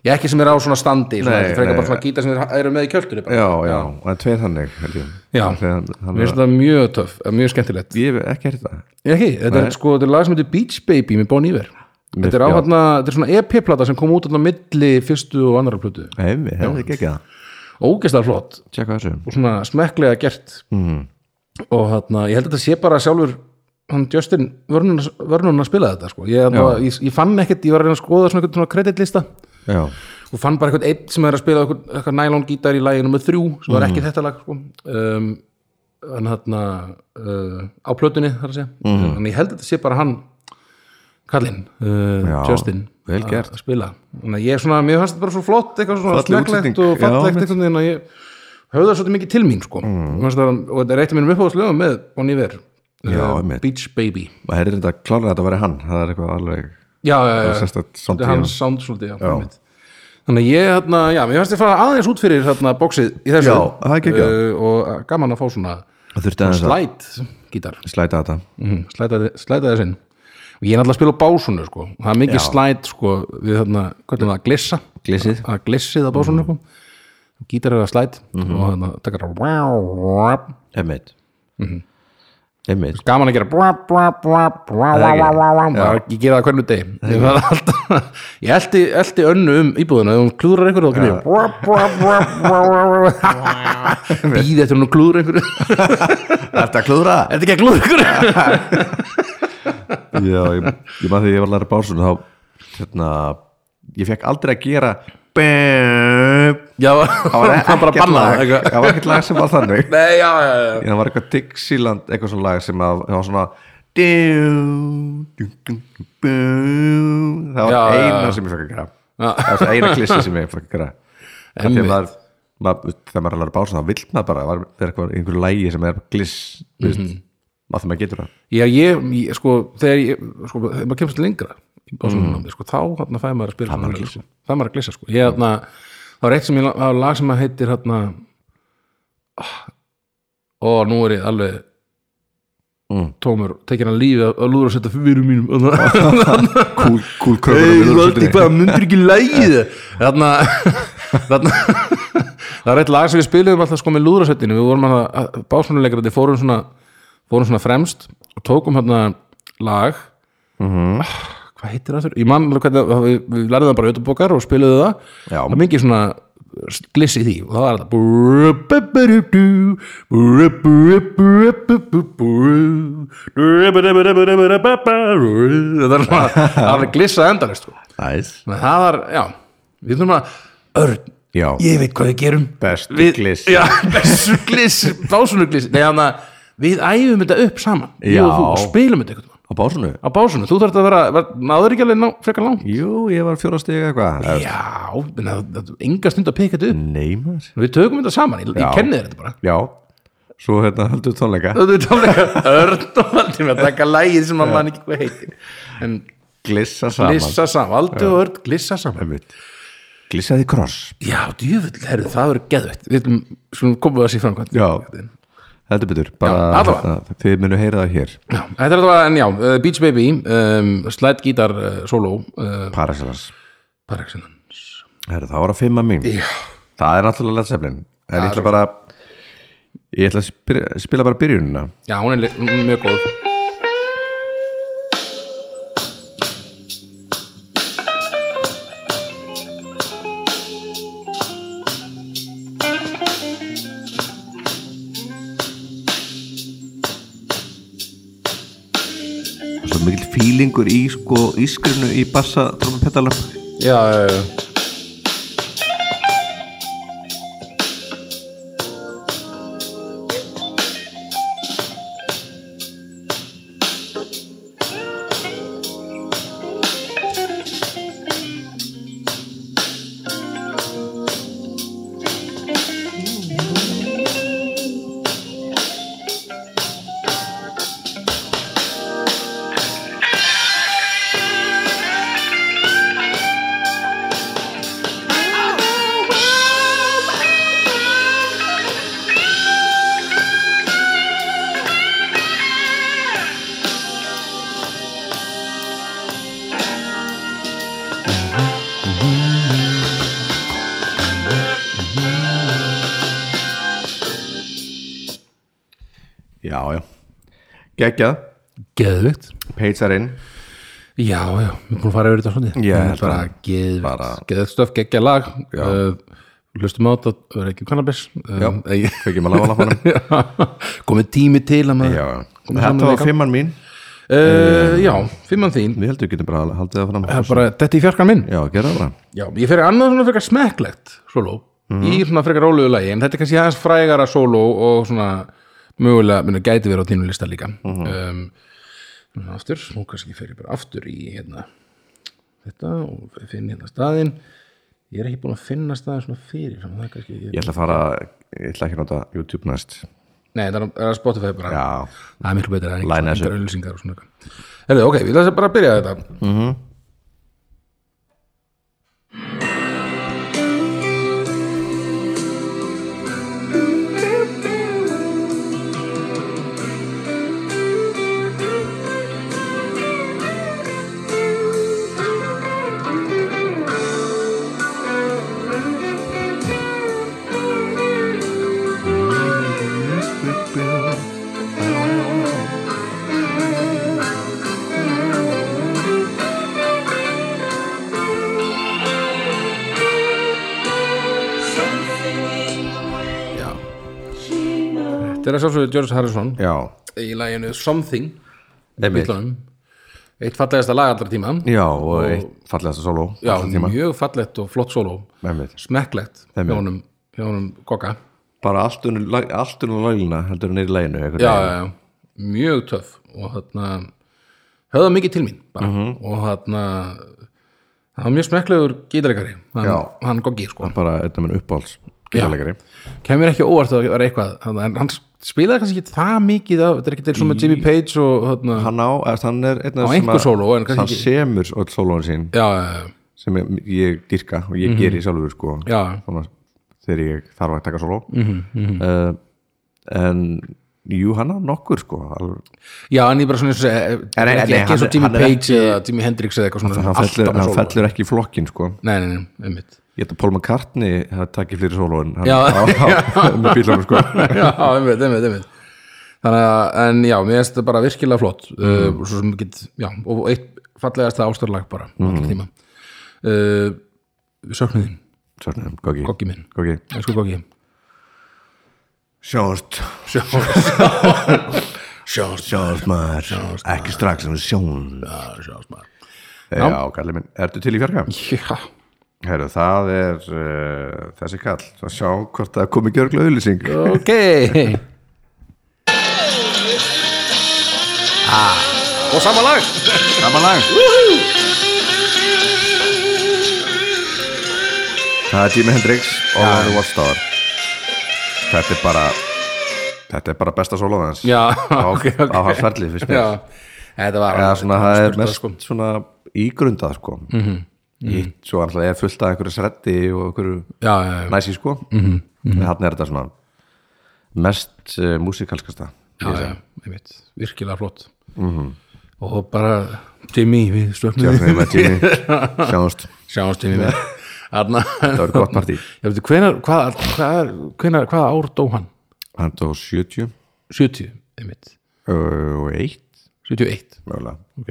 Speaker 2: Ég ekki sem er á svona standi svona,
Speaker 1: Nei,
Speaker 2: Þetta er frekar
Speaker 1: nei.
Speaker 2: bara svona gítar sem þeir eru með í kjöldur
Speaker 1: já, já, og það er tveir þannig held ég.
Speaker 2: Já.
Speaker 1: Þegar-
Speaker 2: Mér
Speaker 1: þannig
Speaker 2: finnst þetta mjög töff, mjög skemmtilegt
Speaker 1: að ég hef ekki heyrt það
Speaker 2: Ég ekki, þetta er sko, þetta er lag sem heitir Beach Baby með Bon Iver
Speaker 1: Mér-
Speaker 2: Þetta er á
Speaker 1: já.
Speaker 2: hérna, þetta er svona EP-plata sem kom út á milli fyrstu og annara plötu
Speaker 1: Nei, við hefum ekki ekki það
Speaker 2: Ógeðslega flott
Speaker 1: Tjekka þessu
Speaker 2: og svona smekklega gert mm. og hérna, ég held að þetta sé bara sjálfur hann Justin Vernon Vernon að spila þetta sko ég, hérna, ég, ég fann ekkert, ég var að reyna að skoða svona eitthvað svona kreditlista
Speaker 1: Já,
Speaker 2: og fann bara eitthvað einn sem er að spila eitthvað, eitthvað nælón gítar í lagi nummer þrjú sem var ekki
Speaker 1: Mhm.
Speaker 2: þetta lag sko. um, en þarna uh, á plötunni þar að segja
Speaker 1: Mhm.
Speaker 2: en ég held að þetta sé bara hann Kallinn, uh,
Speaker 1: Já,
Speaker 2: Justin
Speaker 1: vel
Speaker 2: að-
Speaker 1: gert.
Speaker 2: að spila þannig að ég er svona, mér fannst þetta bara svo flott eitthvað svona
Speaker 1: Falleg
Speaker 2: smekklegt
Speaker 1: útsetning.
Speaker 2: og
Speaker 1: Já,
Speaker 2: fallegt
Speaker 1: mitt. Mhm.
Speaker 2: eitthvað þannig að ég höfða svolítið mikið til mín sko. mm. það, og þetta er eitt af mínum uppáðslöfum með Bon Iver
Speaker 1: Já,
Speaker 2: uh,
Speaker 1: einmitt.
Speaker 2: Beach Baby
Speaker 1: maður hefði reynda að klára þetta að vera hann það er eitthvað alveg
Speaker 2: já, já, já, já.
Speaker 1: sérstætt
Speaker 2: Þetta
Speaker 1: samtíð
Speaker 2: er
Speaker 1: hann
Speaker 2: hans sound svolítið, já, einmitt. Þannig að ég, hérna, já, mér fannst ég fara aðeins út fyrir hérna bóksið í þessu
Speaker 1: Já, það er geggjað.
Speaker 2: uh, og gaman að fá svona
Speaker 1: þurfti aðeins að
Speaker 2: slæt gítar,
Speaker 1: slæta þetta
Speaker 2: mm, slæta, slæta þess inn og ég er náttúrulega að spila á básunu, sko og það er mikið
Speaker 1: Já.
Speaker 2: slæt, sko, við þarna hvernig það glissa,
Speaker 1: Glissið.
Speaker 2: að glissið á
Speaker 1: Mhm.
Speaker 2: básunu, sko, gítar er að slæt og þannig að taka það
Speaker 1: Emmett Mhm. Emmett
Speaker 2: gaman að gera brá, brá, brá, brá,
Speaker 1: Það
Speaker 2: brá,
Speaker 1: er
Speaker 2: brá,
Speaker 1: ekki.
Speaker 2: brá, brá. Bara, ég gera það hvernig deg ég, var alltaf, ég elti, elti önnu um íbúðuna ef hún klúðrar einhverju þá grýr brá, brá, brá, brá, brá, brá. býð eftir hún klúður einhverju er
Speaker 1: Þetta klúðra
Speaker 2: þetta ekki að klúður einhverju
Speaker 1: Já, ég, ég maður þegar ég var að læra básun þá hérna ég fekk aldrei að gera BEEEEEEEEEEEEEEEEEEEEEEEEEEEEEEEEEEEEEEEEE
Speaker 2: já, það var bara
Speaker 1: ekkert
Speaker 2: bannað
Speaker 1: lag-
Speaker 2: eitthvað.
Speaker 1: það var ekkert lag sem var þannig
Speaker 2: nei, já, já, já
Speaker 1: en það var eitthvað Dixieland eitthvað svona lag sem að, það var svona dú, dú, dú, dú, dú. það var
Speaker 2: Já, já, já.
Speaker 1: eina sem ég fæk að gera
Speaker 2: Já.
Speaker 1: það var svona eina klissi sem ég fæk að gera Af því að maður, maður, þegar maður er að læra bása þá vill maður bara, það er eitthvað einhverju lægi sem er gliss mm
Speaker 2: Mhm.
Speaker 1: -hmm. að það maður getur það
Speaker 2: Já, ég, ég sko, þegar ég, sko, þegar maður kemst lengra í básumnámi, sko, þá hann fæði maður að spila svona
Speaker 1: maður að
Speaker 2: lög, sko. það maður að glissa, sko ég, hann, það var eitt sem ég, það var lag sem að heitir hann ó, nú er ég alveg
Speaker 1: Mm.
Speaker 2: tómur, tekin að lífi að lúður að setja fyrir mínum þarna-
Speaker 1: cool, cool
Speaker 2: Ei,
Speaker 1: kröfur
Speaker 2: Valdi, hvað, myndir ekki lægið Þarna Þarna Það er eitt lag sem við spilum alltaf sko með lúðrasettinu Við vorum að básnuleikra Þið fórum svona, fórum svona fremst og tókum hérna lag ah, Hvað heitir það þurr? Ég man alveg hvernig, að- við, við lærðum það bara auðvitaðbókar og spiluðu það
Speaker 1: Já.
Speaker 2: Það er mikið svona gliss í því og það var þetta Brú-bu-bu-ru-bú, brú-bu-bu-bu-bu-bu-bú, brú-bu-bu-bu-bu-bu-bu-bu-bu. Þetta er svona alveg glissa endalist sko.
Speaker 1: nice.
Speaker 2: Þannig að það var, já, við þurfum að Örn,
Speaker 1: já,
Speaker 2: ég veit hvað við gerum
Speaker 1: bestu
Speaker 2: við,
Speaker 1: gliss
Speaker 2: Já, bestu gliss, básunum gliss Nei, þannig að við æfum þetta upp saman Ég og
Speaker 1: Já.
Speaker 2: þú, og spilum þetta eitthvað
Speaker 1: á básunu?
Speaker 2: Á básunum, þú þarf að vera, vera náður ekki alveg ná, frekar langt
Speaker 1: jú, ég var fjóra stig eitthvað
Speaker 2: Já, en það, það, enga stund að peka þetta upp
Speaker 1: neymar
Speaker 2: Við tökum þetta saman, ég,
Speaker 1: Já.
Speaker 2: ég kenni þér þetta bara
Speaker 1: já, svo hérna heldur tónleika
Speaker 2: Þú veit alveg örn og valdi með að taka lægið sem að mann ekki hvað heitir En
Speaker 1: glissa saman
Speaker 2: glissa saman, valdi og örn glissa saman
Speaker 1: Einmitt. glissaði kross
Speaker 2: Já, djöfull, herðu, það verður geðveitt Við ætlum, skulum komum við að sé framkvæmt
Speaker 1: Já. heldur betur,
Speaker 2: Já,
Speaker 1: bara
Speaker 2: allavega.
Speaker 1: þetta- þið munu heyra það hér
Speaker 2: Já, Þetta er þetta, en já, uh, Beach Baby um, Slide Guitar uh, eh, Solo uh,
Speaker 1: Paracelsus
Speaker 2: Paraxinans
Speaker 1: Herra, það var að fimma mín
Speaker 2: Já.
Speaker 1: það er náttúrulega Led Zeppelin en ég ætla bara ég ætla að spila, spila bara byrjunina
Speaker 2: Já, hún er le- m- mjög góð
Speaker 1: svo mikill fílingur í sko ískrinu í bassa trómpetalar
Speaker 2: Já, já, já
Speaker 1: já já geggjað,
Speaker 2: Geðvikt
Speaker 1: peitsar inn
Speaker 2: Já, já, við erum búin að fara yfir þetta svona
Speaker 1: Já,
Speaker 2: Það
Speaker 1: held
Speaker 2: er bara
Speaker 1: að-
Speaker 2: geðvikt
Speaker 1: bara-
Speaker 2: Geðvikt stöf, geggja lag uh, Hlustum á þetta, það er ekki kannabis
Speaker 1: já,
Speaker 2: um,
Speaker 1: fekkum að láfa lafanum
Speaker 2: Komið tími til að maður
Speaker 1: já,
Speaker 2: Komum
Speaker 1: þetta
Speaker 2: saman
Speaker 1: var
Speaker 2: líka.
Speaker 1: fimman mín
Speaker 2: uh, Já, fimmann þín
Speaker 1: við heldum við getum bara haldið það fram
Speaker 2: Það er bara, þetta í fjarkan minn
Speaker 1: já, gera það bara
Speaker 2: Já, ég fer í annað svona frekar smekklegt sóló,
Speaker 1: Mhm.
Speaker 2: í svona frekar róluðu lagi en þetta er kannski aðeins frægara sóló og svona mögulega, minna, gæti verið á þínu lista líka
Speaker 1: Mhm.
Speaker 2: um, núna aftur, nú kannski fer ég bara aftur í hérna þetta og finn hérna staðinn ég er ekki búin að finna staðinn svona fyrir sem það er kannski, ég,
Speaker 1: ég ætla að fara, ég ætla ekki að nota YouTube næst
Speaker 2: nei það er á- er að Spotify bara,
Speaker 1: já,
Speaker 2: það er miklu betur það er
Speaker 1: Line
Speaker 2: ekki
Speaker 1: þessu.
Speaker 2: svona öllusingar og svona Herðu, ok, við ætlum bara að byrja þetta
Speaker 1: Mm.
Speaker 2: Já. þetta er að sjálfsögðu George Harrison
Speaker 1: já,
Speaker 2: í laginu Something
Speaker 1: einmitt
Speaker 2: Bílunum Eitt fallegasta lag allra tíma
Speaker 1: já, og eitt fallegasta solo
Speaker 2: Já,
Speaker 1: allra tíma.
Speaker 2: mjög fallegt og flott sóló
Speaker 1: einmitt
Speaker 2: Smekklegt hjá honum, hjá honum Goga
Speaker 1: bara allt unum lagina heldur hann er í laginu einhvern
Speaker 2: já, já,
Speaker 1: veginn.
Speaker 2: já, Eh, mjög töff og þarna höfða mikið til mín bara,
Speaker 1: Mhm.
Speaker 2: og þarna það var mjög smekklegur gítarleikari
Speaker 1: Já.
Speaker 2: hann, hann Gogi sko
Speaker 1: bara einna minn uppáhalds gítarleikari
Speaker 2: kemur ekki á óvart að það var eitthvað þarna, en hann spilaði kannski ekki það mikið af, þetta er ekki til svona Jimmy Page og þarna,
Speaker 1: hann á, eða, hann er einna
Speaker 2: Á einhver sóló, en kannski
Speaker 1: hann
Speaker 2: ekki-
Speaker 1: semur öll sólóin sín
Speaker 2: já, já, já,
Speaker 1: sem ég, ég dyrka og ég geri sjálfur sko
Speaker 2: Mhm. já, Mhm,
Speaker 1: svona, þegar ég þarf að taka sóló uh, en jú, hann á nokkur sko alveg,
Speaker 2: já, en ég bara svona eins og segja,
Speaker 1: Nei,
Speaker 2: ekki,
Speaker 1: nei, nei,
Speaker 2: ekki eins
Speaker 1: hann-
Speaker 2: og Jimmy
Speaker 1: hann er
Speaker 2: Page eða Jimi Hendrix eða eitthvað svona
Speaker 1: hann,
Speaker 2: alltaf
Speaker 1: fellur,
Speaker 2: með
Speaker 1: hann
Speaker 2: sóló.
Speaker 1: fellur ekki í flokkin sko
Speaker 2: Nei, nei, nei, einmitt
Speaker 1: ég ætla Paul McCartney að taka fleiri sóló en hann
Speaker 2: Já.
Speaker 1: á, á, með bílunum sko
Speaker 2: Já, einmitt, einmitt, einmitt Þannig að, en já, mér finnst þetta bara virkilega flott mm. uh, Svo sem get, já, og eitt fallegasta ástarlag bara mm. tíma uh, Við söknum þín,
Speaker 1: Svona, Gogi,
Speaker 2: Goggi minn
Speaker 1: Gogi.
Speaker 2: Elsku Goggi
Speaker 1: sjást
Speaker 2: Sjást Sjást
Speaker 1: sjást maður, ekki strax en sjón
Speaker 2: Sjást maður
Speaker 1: já, kalli minn, ertu til í fjarka?
Speaker 2: Já,
Speaker 1: Herru, það er uh, þessi kall, að sjá hvort það komi gjörgla auðlýsing
Speaker 2: ok ah. Og sama lag
Speaker 1: Samanlag Það er Jimi Hendrix og það er Watchtower Þetta er bara þetta er bara besta sólóð hans
Speaker 2: Já,
Speaker 1: á,
Speaker 2: ok, ok
Speaker 1: á hans ferli fyrst mér
Speaker 2: Já, þetta var
Speaker 1: eða svona það er
Speaker 2: spurt
Speaker 1: mest
Speaker 2: sko. Mhm,
Speaker 1: svona ígrundað sko mm -hmm. Ítt, svo alltaf er fullt af einhverju sreddi og einhverju
Speaker 2: Já, já, já
Speaker 1: næsi sko mm
Speaker 2: Mhm,
Speaker 1: -hmm. en hann er þetta svona mest uh, músikalskasta
Speaker 2: já, já, Mhm. einmitt, virkilega flott og bara Jimmy, við stöfnum
Speaker 1: Jimi, Jimi, sjáumst
Speaker 2: sjáumst Jimmy með Arna,
Speaker 1: það var gott partí
Speaker 2: ég veit, hvenar, hvað, hvað, hvenar, hvaða ár dó hann?
Speaker 1: hann tók 70
Speaker 2: 70, einmitt
Speaker 1: ö, og 1
Speaker 2: 71,
Speaker 1: mögulega
Speaker 2: ok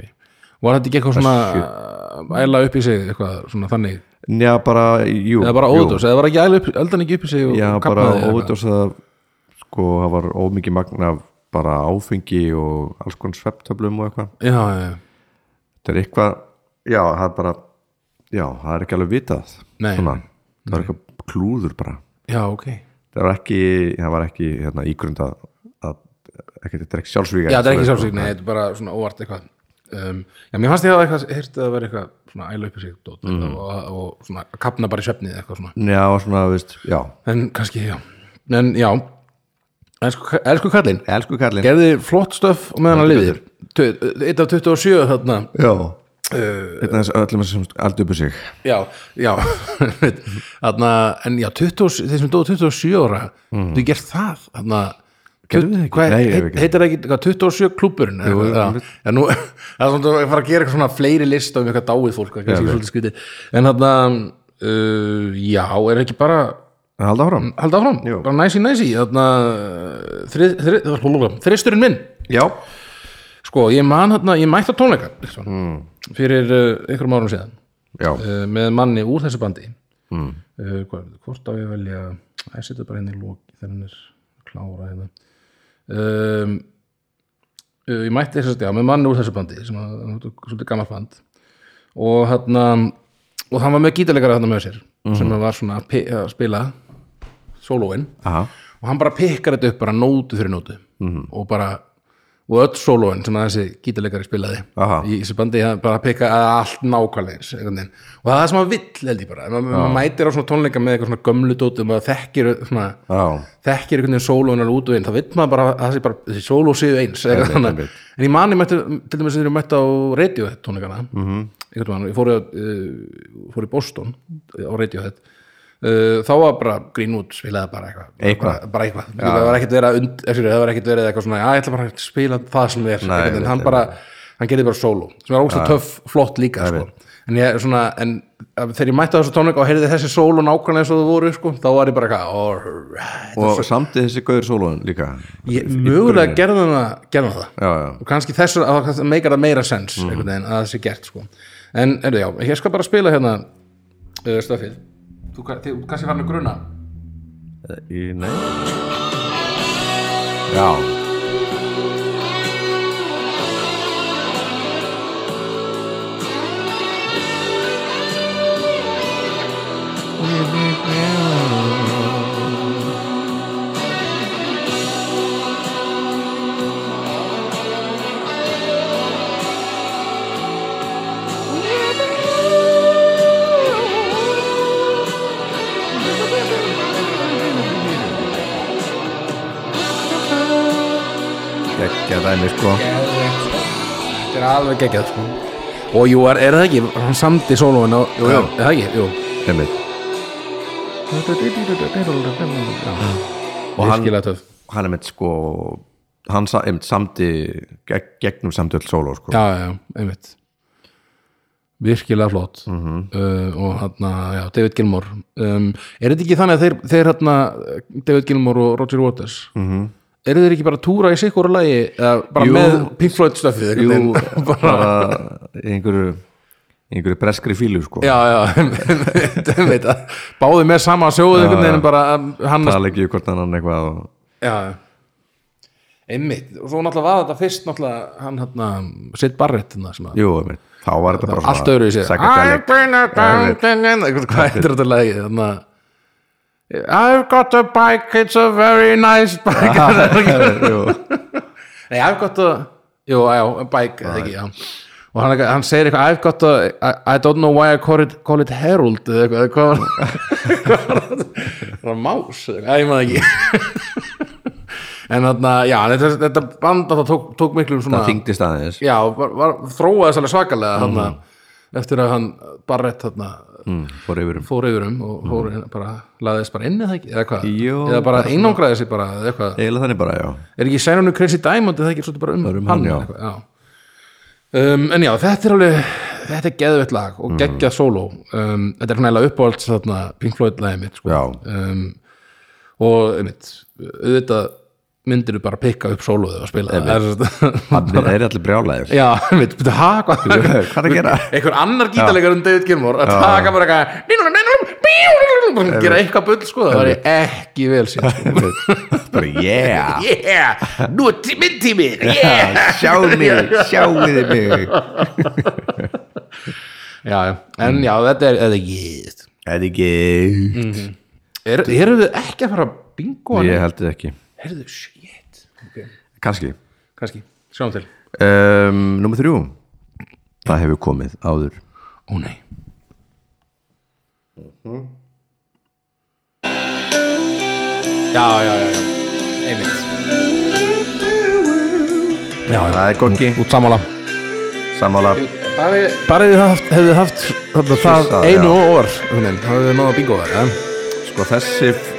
Speaker 2: var þetta ekki eitthvað svona æla upp í sig eitthvað svona þannig
Speaker 1: Já, bara, jú
Speaker 2: eða bara
Speaker 1: jú.
Speaker 2: óðdós, eða var ekki æla upp, eldan ekki upp í sig og
Speaker 1: Já, bara
Speaker 2: kafnaði eða eitthvað?
Speaker 1: óvitað að sko, það var ómikið magn af bara áfengi og alls konar svepptöflum og eitthvað.
Speaker 2: já, já, já,
Speaker 1: Þetta er eitthvað, já, það er bara já, það er ekki alveg vitað
Speaker 2: Nei.
Speaker 1: það er eitthvað klúður bara
Speaker 2: já, ok já,
Speaker 1: það var ekki, það var ekki hérna, ígrunda að, ekki, þetta er ekki sjálfsvík
Speaker 2: þetta er ekki sjálfsvík, nei, þetta er bara svona óvart eitthvað um, já, mér fannst ég að eitthvað heyrst að það vera eitthvað svona æla upp í sig dót,
Speaker 1: Mm.
Speaker 2: og, og svona að kapna bara í svefnið eitthvað svona
Speaker 1: Já, svona, veist, já
Speaker 2: en kannski, já, en já elsku, elsku kallinn
Speaker 1: Elsku kallinn
Speaker 2: gerði flott stöf og meðan að liði eitt af 27 þarna
Speaker 1: Já Þetta er öllum sem aldrei uppi sig
Speaker 2: já, já þarna, en já, 20, þeir sem dóðu 27 ára þú gert það þarna,
Speaker 1: Gerðum við það Mhm. ekki?
Speaker 2: hvað,
Speaker 1: Nei,
Speaker 2: heit,
Speaker 1: við gerðum.
Speaker 2: heitir það ekki hvað, 27 klúburinn Jú, já, en nú, það er svona að fara að gera eitthvað svona fleiri list um eitthvað dáið fólk það er kannski svolítið skrítið. en þarna, uh, já, er ekki bara
Speaker 1: Halda áfram
Speaker 2: halda áfram,
Speaker 1: Jú.
Speaker 2: bara næsi næsi þarna, þrið, þrið, þrið, þristurinn minn
Speaker 1: Já
Speaker 2: Sko, ég man hérna, ég mætti á tónleika liksom,
Speaker 1: Mm.
Speaker 2: fyrir uh, einhverjum árum síðan
Speaker 1: Já,
Speaker 2: uh, með manni úr þessu bandi mm. uh, hvað, hvort á ég að velja að ég setja bara henni í lóki þegar hann er klára hérna um, uh, ég mætti þess að já, með manni úr þessu bandi sem að, hann var svolítið gammal band og hérna og hann var með gítarleikara þarna með sér sem var svona að pi- að spila sólóin
Speaker 1: aha,
Speaker 2: og hann bara pikkar þetta upp bara nótu fyrir nótu
Speaker 1: Mhm.
Speaker 2: -hmm. og bara og öll sólóin sem að þessi gítarleikari spilaði
Speaker 1: Aha.
Speaker 2: í þessu bandi, hann bara pikka allt nákvæmlega eins einhvern veginn. og það er það sem að vill held ég bara, maður maður mætir á svona tónleika með eitthvað svona gömlu dóti og maður þekkir svona,
Speaker 1: já
Speaker 2: þekkir einhvern veginn sólóinar út og einn, þá vill maður bara að þessi, bara, þessi sóló séu eins er,
Speaker 1: Einmitt,
Speaker 2: þannig,
Speaker 1: einmitt.
Speaker 2: en ég mani mætti, til dæmis þegar ég mætti á Radiohead tónleikana mm
Speaker 1: Mhm.
Speaker 2: -hmm. mann, ég fór, í, uh, fór í Boston á Radiohead uh, þá var bara Greenwood spilaði bara eitthvað
Speaker 1: Eitthvað.
Speaker 2: bara, bara eitthvað, það var ekkert verið, und, eftir, það var ekkert verið eitthvað svona, að ég ætla bara að spila það sem er,
Speaker 1: Nei,
Speaker 2: Nei, en
Speaker 1: einmitt,
Speaker 2: hann bara hann gerði bara sóló, sem var ógstlega töff flott líka, sko en, ég, svona, en að- þegar ég mætti á þessu tónleika og heyrði þessi sóló nákvæmlega eins og það voru, sko þá var ég bara eitthvað, alright
Speaker 1: og samt þessi gauður sólóðun líka
Speaker 2: ég, mögulega gerði hann að gerði hann það
Speaker 1: já, já,
Speaker 2: og kannski þess að það meikar það meira sens einhvern veginn að það sé gert sko. en er, já, ég skal bara spila hérna uh, stafið þú ka- þið- kannski fann að gruna
Speaker 1: í, nei já geggja dæmi sko
Speaker 2: þetta er alveg geggjað sko. og jú, er, er það ekki, hann samdi sólóin á, jú,
Speaker 1: Já.
Speaker 2: jú, er það ekki, jú
Speaker 1: Einmitt.
Speaker 2: og
Speaker 1: og hann,
Speaker 2: hann,
Speaker 1: hann er mitt sko hann sa- einmitt samti gegn, gegnum samt öll sóló sko
Speaker 2: já, já, já, einmitt virkilega flott uh, og hann, já, David Gilmore um, er þetta ekki þannig að þeir, þeir hann, David Gilmore og Roger Waters eru þeir ekki bara að túra í sikkur lagi, eða bara
Speaker 1: Jú.
Speaker 2: með Pink Floyd stöfið einhvern
Speaker 1: Jú,
Speaker 2: veginn?
Speaker 1: bara í einhverju í einhverju breskri fílu sko
Speaker 2: já, já, einmitt, einmitt að báði með sama sjóðu einhvern veginn en bara um, að hann
Speaker 1: tala ekki hvort annan eitthvað og,
Speaker 2: já, já. einmitt, og svo náttúrulega var þetta fyrst náttúrulega hann hann, Sid Barrett hérna, sem að
Speaker 1: jú, einmitt. þá var þetta bara
Speaker 2: allt öðru í sig I've
Speaker 1: Psychedelic.
Speaker 2: been a
Speaker 1: Já,
Speaker 2: dungeon hvað heitir þetta lagi þannig að I've got a bike, it's a very nice bike
Speaker 1: einmitt. Jú.
Speaker 2: Nei, I've got a Jú, já, a bike, eða ekki, já Og hann, hann segir eitthvað, I've got a I, I don't know why I call it, call it Herald eða eitthvað, eða hvað var- hvað var það? Það var Más, eða eitthvað, Æ, ég maður ekki En þarna, já, þetta, þetta band það tók, tók miklu svona
Speaker 1: það þingdist aðeins
Speaker 2: já, var, var, þróaðist alveg svakalega mm eftir að hann Barrett þarna,
Speaker 1: Mm, fór yfir um
Speaker 2: fór yfir um og fór inn, bara, laðist bara inn eða ekki eða, hvað?
Speaker 1: Jó,
Speaker 2: eða bara einangraði sig bara eða eitthvað
Speaker 1: eiginlega þannig bara, já
Speaker 2: er ekki sænunu Crazy Diamond eða ekki svolítið bara um,
Speaker 1: um hann,
Speaker 2: eða
Speaker 1: já.
Speaker 2: eitthvað, já. Um, en já, þetta er alveg þetta er geðvett lag og geggjað sóló um, þetta er svona eiginlega uppáhalds þarna Pink Floyd lagið mitt sko.
Speaker 1: Já.
Speaker 2: um, og einmitt, auðvitað myndir bara pikka upp sólóðið og spila það er,
Speaker 1: hann er allir brjálæðir
Speaker 2: já, einmitt, byrja, ha, hvað
Speaker 1: Hvað er að gera?
Speaker 2: einhver annar gítarleikar en David Gilmour að taka bara eitthvað gera eitthvað bull sko, það var ég ekki vel sér sko.
Speaker 1: bara yeah
Speaker 2: yeah, nú er tí- minn tími yeah
Speaker 1: sjáu mig, sjáuði mig
Speaker 2: já, já. en já, þetta er, þetta er gíð
Speaker 1: eða
Speaker 2: Mm.
Speaker 1: ekki
Speaker 2: er, eru þið ekki að fara að bingo hann?
Speaker 1: ég held þið ekki,
Speaker 2: heyrðu, shit okay.
Speaker 1: kannski
Speaker 2: kannski, sjáum til
Speaker 1: um, Númer þrjú Það hefur komið áður
Speaker 2: ó nei Mhm. já, já, já, já einmitt,
Speaker 1: Það er Gorki,
Speaker 2: út samála
Speaker 1: sammála
Speaker 2: bara hefði haft, hefði haft þarna, það
Speaker 1: það,
Speaker 2: einu
Speaker 1: já.
Speaker 2: orð hvernig, þá hefði náða bingo það ja.
Speaker 1: Sko þessi f-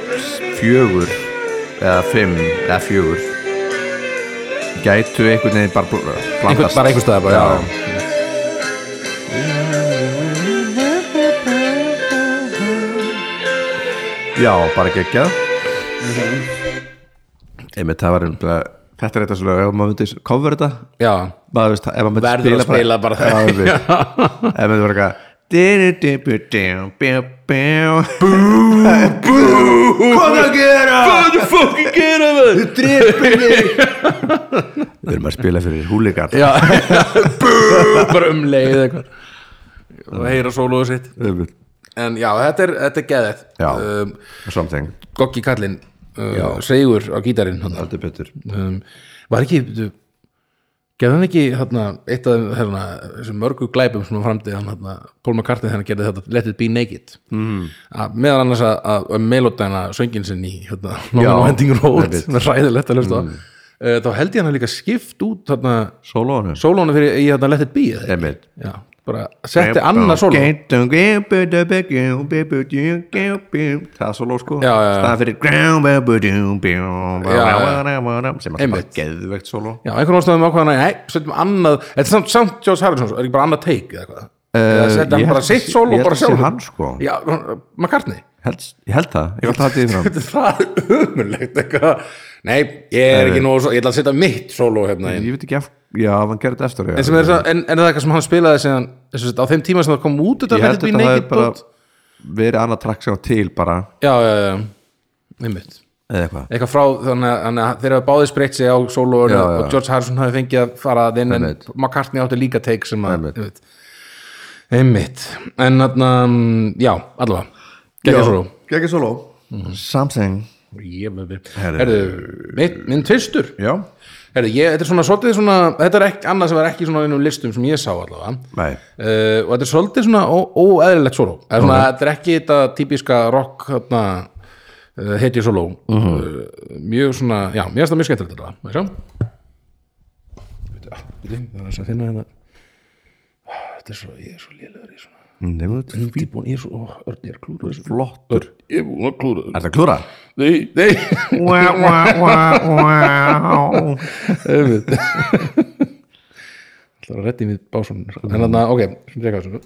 Speaker 1: fjögur eða fimm, eða fjögur gætu einhvern veginn bara bl- blandast
Speaker 2: einhvern, bara einhver staðar bara, já.
Speaker 1: já. já, bara geggjað Einmitt, það var einhverja Þetta er eitthvað svolítið, ef maður myndi cover þetta
Speaker 2: já,
Speaker 1: maður veist, ef maður myndi
Speaker 2: Verður að spila bara það.
Speaker 1: það ef maður myndi bara eitthvað Bú, bú Hvað það gera?
Speaker 2: Hvað er fucking gera það?
Speaker 1: Drippinni Við erum að spila fyrir húligat
Speaker 2: Já Bú, Bara um leið eitthvað Og heyra sólóðu sitt En já, þetta er, þetta er geðið
Speaker 1: Já.
Speaker 2: um,
Speaker 1: Something
Speaker 2: Goggi Kallinn uh, Seigur á gítarinn þarna.
Speaker 1: Aldrei betur
Speaker 2: um, Var ekki du, Gerði hann ekki þarna, eitt af þarna, þessum mörgu glæpum sem hann framdi hann þarna, Paul McCartney þegar hann gerði þetta Let it be naked mm. að, meðan annars að, að, að melodæna söngin sinni í hérna, Norman Wending Road
Speaker 1: einmitt.
Speaker 2: sem er ræðilegt að hlusta mm. uh, þá held ég hann hafi líka skipt út þarna,
Speaker 1: Sólónu
Speaker 2: sólónu fyrir í þarna Let it be eða ekki?
Speaker 1: Einmitt
Speaker 2: Já, bara setti annað sóló
Speaker 1: Það er sóló sko
Speaker 2: Já, já, já.
Speaker 1: Staðan fyrir
Speaker 2: Já,
Speaker 1: Sem er bara
Speaker 2: Einmitt.
Speaker 1: geðvegt sóló
Speaker 2: Já, einhvern ástæðum ákvæðan að, nei, setjum annað Þetta er samt, samt George Harrison, er ekki bara annað teik eða hvað? Eða setja
Speaker 1: Eh, ég
Speaker 2: hann bara
Speaker 1: held-
Speaker 2: sitt sól og
Speaker 1: ég held
Speaker 2: bara
Speaker 1: að sé
Speaker 2: sjálf
Speaker 1: hann, sko.
Speaker 2: Já, McCartney
Speaker 1: Held- Ég held það, ég held það til því fram
Speaker 2: Þetta er það umurlegt eitthvað Nei, ég
Speaker 1: Eh.
Speaker 2: er ekki nóg svo, ég ætla að setja mitt sóló hérna inn
Speaker 1: Ég veit ekki af, já, hann gerði þetta eftir já.
Speaker 2: En sem er, svo, en, en er það eitthvað sem hann spilaði síðan, þess að á þeim tíma sem það kom út þetta
Speaker 1: Ég held
Speaker 2: Let It Be
Speaker 1: þetta hafi
Speaker 2: Naked
Speaker 1: bara
Speaker 2: Boat?
Speaker 1: verið annað trakk sem á til bara
Speaker 2: Já, já, já, einmitt
Speaker 1: eða eitthvað
Speaker 2: eitthvað frá þannig að- þannig að þeir hafa báðið spreitt sig á sólóinu
Speaker 1: Já, já.
Speaker 2: og George Harrison hafi fengið að fara að inn en
Speaker 1: Einmitt.
Speaker 2: McCartney átti líka teik sem að
Speaker 1: Einmitt.
Speaker 2: einmitt, einmitt. en þarna, mm, já, allavega geggjum svo
Speaker 1: Gekki solo Mhm. Something Herðu.
Speaker 2: Herðu, minn, minn tvistur
Speaker 1: Já
Speaker 2: Herðu, ég, þetta er svona svolítið svona þetta er ekki, annað sem er ekki svona einum listum sem ég sá allavega
Speaker 1: Nei
Speaker 2: uh, og þetta er svolítið svona ó- óeðlilegt sóló Eða svona, þetta er ekki þetta típiska rock hérna, uh, heiti sóló uh, mjög svona, já, mér finnst það mjög skemmtilegt þetta, maður sjá Bíddu, ah, bíddu, það er aðeins að finna hérna Ah, þetta er svo, ég er svo lélegur í svona
Speaker 1: Nefnum þetta er
Speaker 2: fýtbúin, ég er svo, ó, örn, ég er klúður þessu
Speaker 1: flottur
Speaker 2: ég er búin að klúður þessu
Speaker 1: Er þetta klúra?
Speaker 2: nei, nei, auðvitað Það er að reddi við básunum sko. En þannig að, ok, sem teka þessu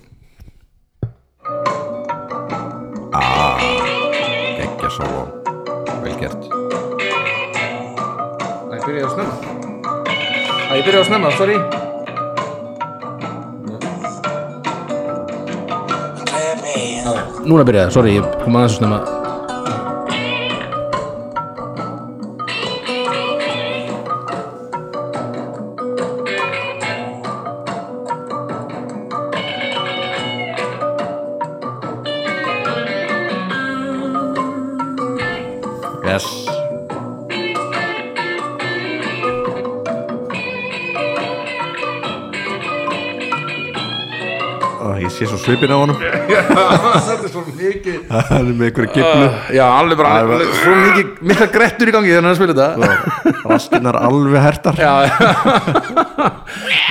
Speaker 1: Gekki solo Vel gert
Speaker 2: Æ, ég byrjaði að snemma Æ, ég byrjaði að snemma, sorry Núna byrjaði, sorry, ég kom aðeins að snemma
Speaker 1: Yes Ó, Ég sé svo svipin á honum
Speaker 2: Þetta er svo mikið
Speaker 1: Hann er með einhverju giflu
Speaker 2: Já, alveg bara, alveg, svo mikið, mikla grettur í gangi þegar hann er að spila þetta
Speaker 1: Ah. Raskinnar alveg hertar
Speaker 2: Já, já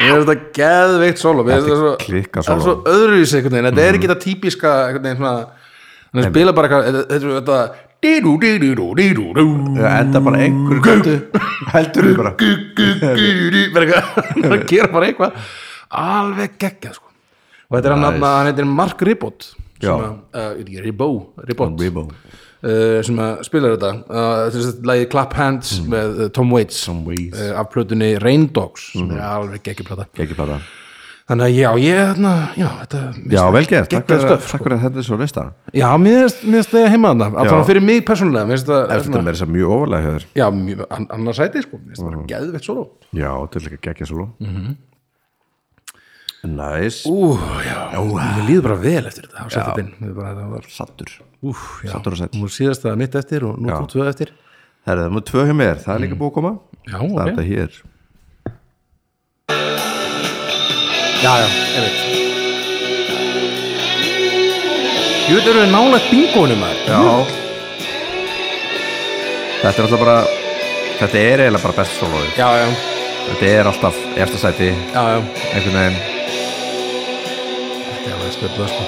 Speaker 2: Ég er þetta geðveikt solo Mér finnst
Speaker 1: Þetta er
Speaker 2: svo-
Speaker 1: klikkað
Speaker 2: Það er Mhm. svo
Speaker 1: sóló.
Speaker 2: öðruvísi einhvern veginn Þetta er ekki þetta típiska einhvern veginn svona Þannig að spila bara eitthvað þetta- Þetta er þetta dýrú, dýrú, dýrú, dýrú, dýrú
Speaker 1: Enda bara einhverju göndu Heldur við bara
Speaker 2: Gú, gú, gú, dýrú, bara eitthvað Að gera bara eitthvað Alveg geggjað sko og þetta er hann nice. hann heitir Mark Ribot
Speaker 1: Já.
Speaker 2: sem að, uh, ég veit ekki, Ribó Ribot
Speaker 1: Rebo
Speaker 2: uh, sem að spilar þetta uh, þetta er sem sagt lagið Clap Hands með uh, Tom Waits
Speaker 1: Mhm. Tom Waits. Mhm.
Speaker 2: uh, af plötunni Rain Dogs sem er alveg geggjum plata
Speaker 1: ekki plata
Speaker 2: þannig að já, ég, þarna, já, þetta
Speaker 1: Já, vel gert, takk
Speaker 2: Geggjað
Speaker 1: fyrir
Speaker 2: stöf,
Speaker 1: að- takk fyrir að þetta er svo lista
Speaker 2: já, mér finnst- mér finnst það heima þarna
Speaker 1: Já.
Speaker 2: allan fyrir mig persónulega mér finnst það
Speaker 1: Þetta er
Speaker 2: svona-
Speaker 1: meira sem mjög ofalega hjá þér
Speaker 2: já, mjög- an- annars sæti sko, mér finnst
Speaker 1: Mhm.
Speaker 2: það bara geðveitt solo
Speaker 1: Já, þetta er líka geggja solo Næs
Speaker 2: ú, já, mér líður bara vel eftir þetta að setja þetta inn Mér bara- það var-
Speaker 1: Sattur
Speaker 2: úf, já,
Speaker 1: Sattur og sætt
Speaker 2: nú er síðasta mitt eftir og nú
Speaker 1: Já.
Speaker 2: þú tvö eftir
Speaker 1: Herra, það er tvö hjá mér, það er líka búið að koma
Speaker 2: já,
Speaker 1: Það er
Speaker 2: ok,
Speaker 1: þetta hér
Speaker 2: já, já, ég veit ég veit að við nálega bingonum að
Speaker 1: Já Þetta er alltaf bara Þetta er eiginlega bara best soloið
Speaker 2: já, já,
Speaker 1: Þetta er alltaf eftir sæti
Speaker 2: já, já
Speaker 1: einhvern veginn
Speaker 2: já, það er spjöldað sko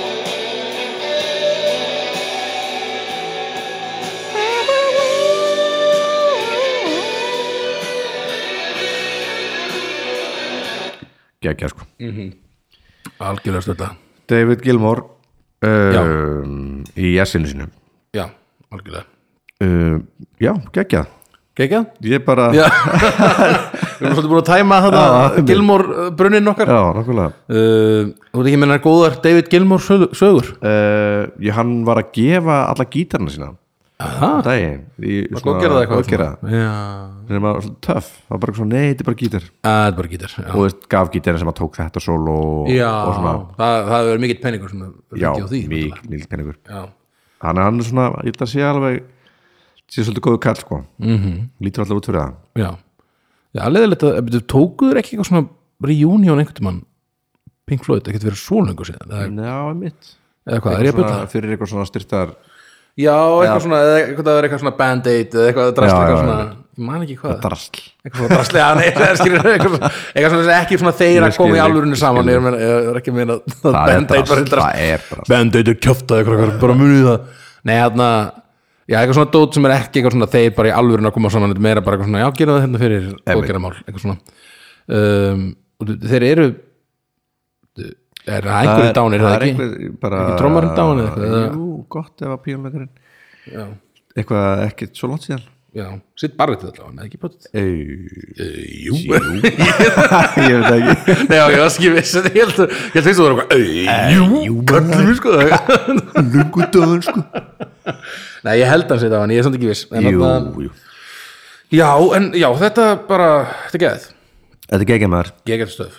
Speaker 1: geggja sko
Speaker 2: algjörlega spjöldað
Speaker 1: David Gilmore um, í jessinu sinu
Speaker 2: já, algjörlega
Speaker 1: uh, Já, geggja
Speaker 2: geggjað
Speaker 1: Ég bara,
Speaker 2: Já. við erum svolítið búin að tæma þetta Gilmore brunnin okkar
Speaker 1: já nokkulega
Speaker 2: Uh, Þú veit ekki minna góðar David Gilmore sögu- sögur
Speaker 1: uh, ég, Hann var að gefa alla gítarna sína
Speaker 2: Aha.
Speaker 1: daginn í svona-
Speaker 2: Góðgerða það eitthvað
Speaker 1: góðgerða.
Speaker 2: Já,
Speaker 1: Þannig að maður var svolítið töff, það var bara svona, nei, þetta er bara gítar
Speaker 2: Að, þetta er bara gítar Já,
Speaker 1: og þú veist, gaf gítarinn sem að tók þetta solo og,
Speaker 2: já
Speaker 1: og svona,
Speaker 2: það, það hefur verið mikill penningur sem er
Speaker 1: já,
Speaker 2: ekki á því náttúrulega.
Speaker 1: mikil peningur
Speaker 2: Já,
Speaker 1: hann er hann er svona, ég held að sé alveg sé svolítið góðu kall, sko -hmm. lítur alltaf út fyrir það
Speaker 2: Mhm. já Já, leðilegt að, betur, tókuður ekki eitthvað svona reunion einhvern tímann Pink Floyd, það getur verið svo lengur síðan eða-
Speaker 1: Já, mitt
Speaker 2: eða hvað, er ég að byrja?
Speaker 1: Fyrir eitthvað svona styrtar
Speaker 2: Já, eitthvað svona, eða eitthvað að vera eitthvað svona band-aid eða eitthvað drast,
Speaker 1: Já,
Speaker 2: eitthvað
Speaker 1: já,
Speaker 2: svona ég man ekki hvað,
Speaker 1: drasl
Speaker 2: eitthvað svona drastlega nei, það skilur, eitthvað svona, eitthvað svona sem ekki svona þeir
Speaker 1: Ég
Speaker 2: að koma í
Speaker 1: skil,
Speaker 2: alvörinu
Speaker 1: ég
Speaker 2: saman ég er að meina- ég er ekki að meina að
Speaker 1: Það er
Speaker 2: band-aid var
Speaker 1: drasl,
Speaker 2: hildrast
Speaker 1: það er drasl
Speaker 2: Band-Aid er kjöftað eitthvað, eitthvað, bara munið það Nei, þarna, já, eitthvað svona dót sem er ekki eitthvað svona þeir bara í alvörun að koma saman þetta er meira bara eitthvað svona, já, gerum það hérna fyrir góðgerðamál, eitthvað svona um, og þe- þeir eru er það einhverjum dánir, er
Speaker 1: Það er
Speaker 2: það ekki?
Speaker 1: einhver bara
Speaker 2: Ekki trommarinn down eða eitthvað, eða?
Speaker 1: Jú, gott ef að píónleikarinn Eitthvað ekki svo langt síðan
Speaker 2: Já, sitt barrið til allavega, eða ekki bótt
Speaker 1: Jú
Speaker 2: Eh, Jú,
Speaker 1: Ég veit það ekki
Speaker 2: Nei, já, ég var ekki viss en ég held að ég held fyrst að það var eitthvað "Eh, Jú, kallum við sko
Speaker 1: Lungu döðun, sko
Speaker 2: Nei, ég held að þetta var en ég er samt ekki viss en,
Speaker 1: Jú,
Speaker 2: þarna-
Speaker 1: jú
Speaker 2: Já, en já, þetta bara þetta er geðið,
Speaker 1: Þetta er geggja maður
Speaker 2: ég get stöð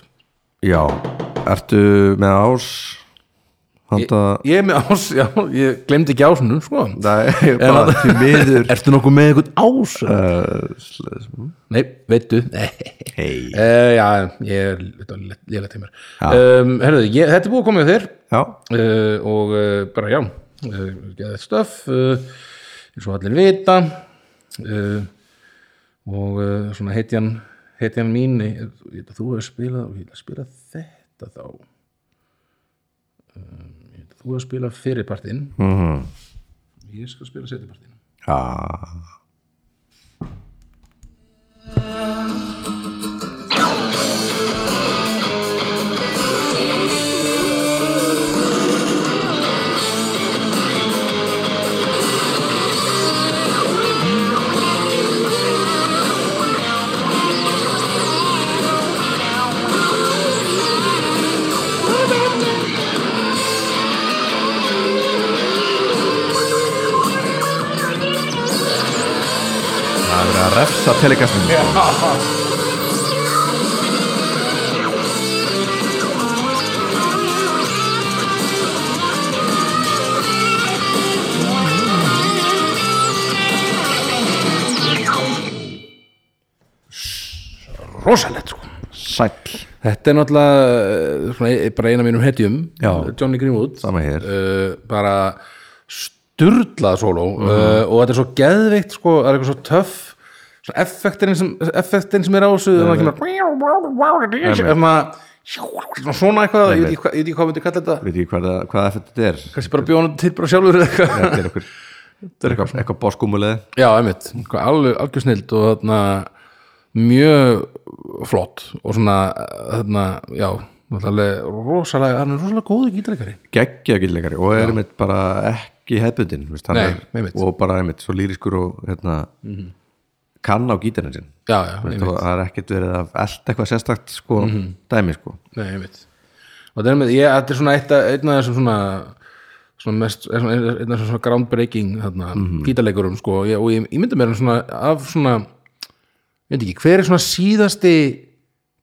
Speaker 1: Já, ertu með ás Handa
Speaker 2: Ég er með ás, já, ég glemdi ekki ásunum sko
Speaker 1: Nei, ég bara til miður
Speaker 2: Ertu nokkuð með einhvern ás?
Speaker 1: Uh, sl- sl-
Speaker 2: Nei, veitu
Speaker 1: Hey
Speaker 2: Uh, já, ég er lélega tímur um, Herðu, ég, þetta er búið að koma hjá þér
Speaker 1: Já,
Speaker 2: uh, og uh, bara já uh, geðið stöf uh, eins og allir vita uh, og uh, svona heitjan heitjan mín ég, ég, þú hefur spilað og ég ætla að spila þetta þá um, ég, ætla- þú hefur spilað fyrirpartinn mm -hmm. ég skal spila setjapartinn
Speaker 1: já
Speaker 2: Ah.
Speaker 1: Það er verið að refsa telekastinu sko.
Speaker 2: rosalegt sko
Speaker 1: Sæll
Speaker 2: Þetta er náttúrulega eh, svona, eh, bara eina mínum hetjum
Speaker 1: Já.
Speaker 2: Johnny Greenwood
Speaker 1: Sama hér
Speaker 2: uh, bara sturdlað sóló
Speaker 1: Mhm.
Speaker 2: uh, og þetta er svo geðveikt sko, það er eitthvað svo töff svo effektin sem, effektin sem er á þessu þannig að kemur svona, svona, svona eitthvað ég veit ekki hvað- ég veit ekki hvað myndi kalla þetta
Speaker 1: Veit ekki hvað, það- hvað þetta er
Speaker 2: kannski bara bjóna til bara sjálfur eða eitthvað
Speaker 1: Þetta er eitthvað eitthvað, eitthvað boskumuleg
Speaker 2: já, einmitt, eitthvað alveg algjör snild og þarna mjög flott og svona þarna, já Náttúrulega rosalega, hann er rosalega góðu gítarleikari
Speaker 1: geggja gildleikari og er einmitt bara ekki hefbundin veist, hann
Speaker 2: Nei,
Speaker 1: er,
Speaker 2: einmitt.
Speaker 1: og bara einmitt svo lýriskur og hérna, kann á gítarinn sinn
Speaker 2: já, já,
Speaker 1: Veist,
Speaker 2: einmitt. Mhm.
Speaker 1: og það er ekkert verið að allt eitthvað sérstakt sko, dæmi sko
Speaker 2: Nei, einmitt og þetta er, með, ég, þetta er svona eitt af- einn af þessum svona svona mest, einn af einn af þessum svona groundbreaking þarna, mm
Speaker 1: Mhm.
Speaker 2: gítarleikurum sko og ég, og ég, ég myndi mér hann svona af svona ég veit ekki, hver er svona síðasti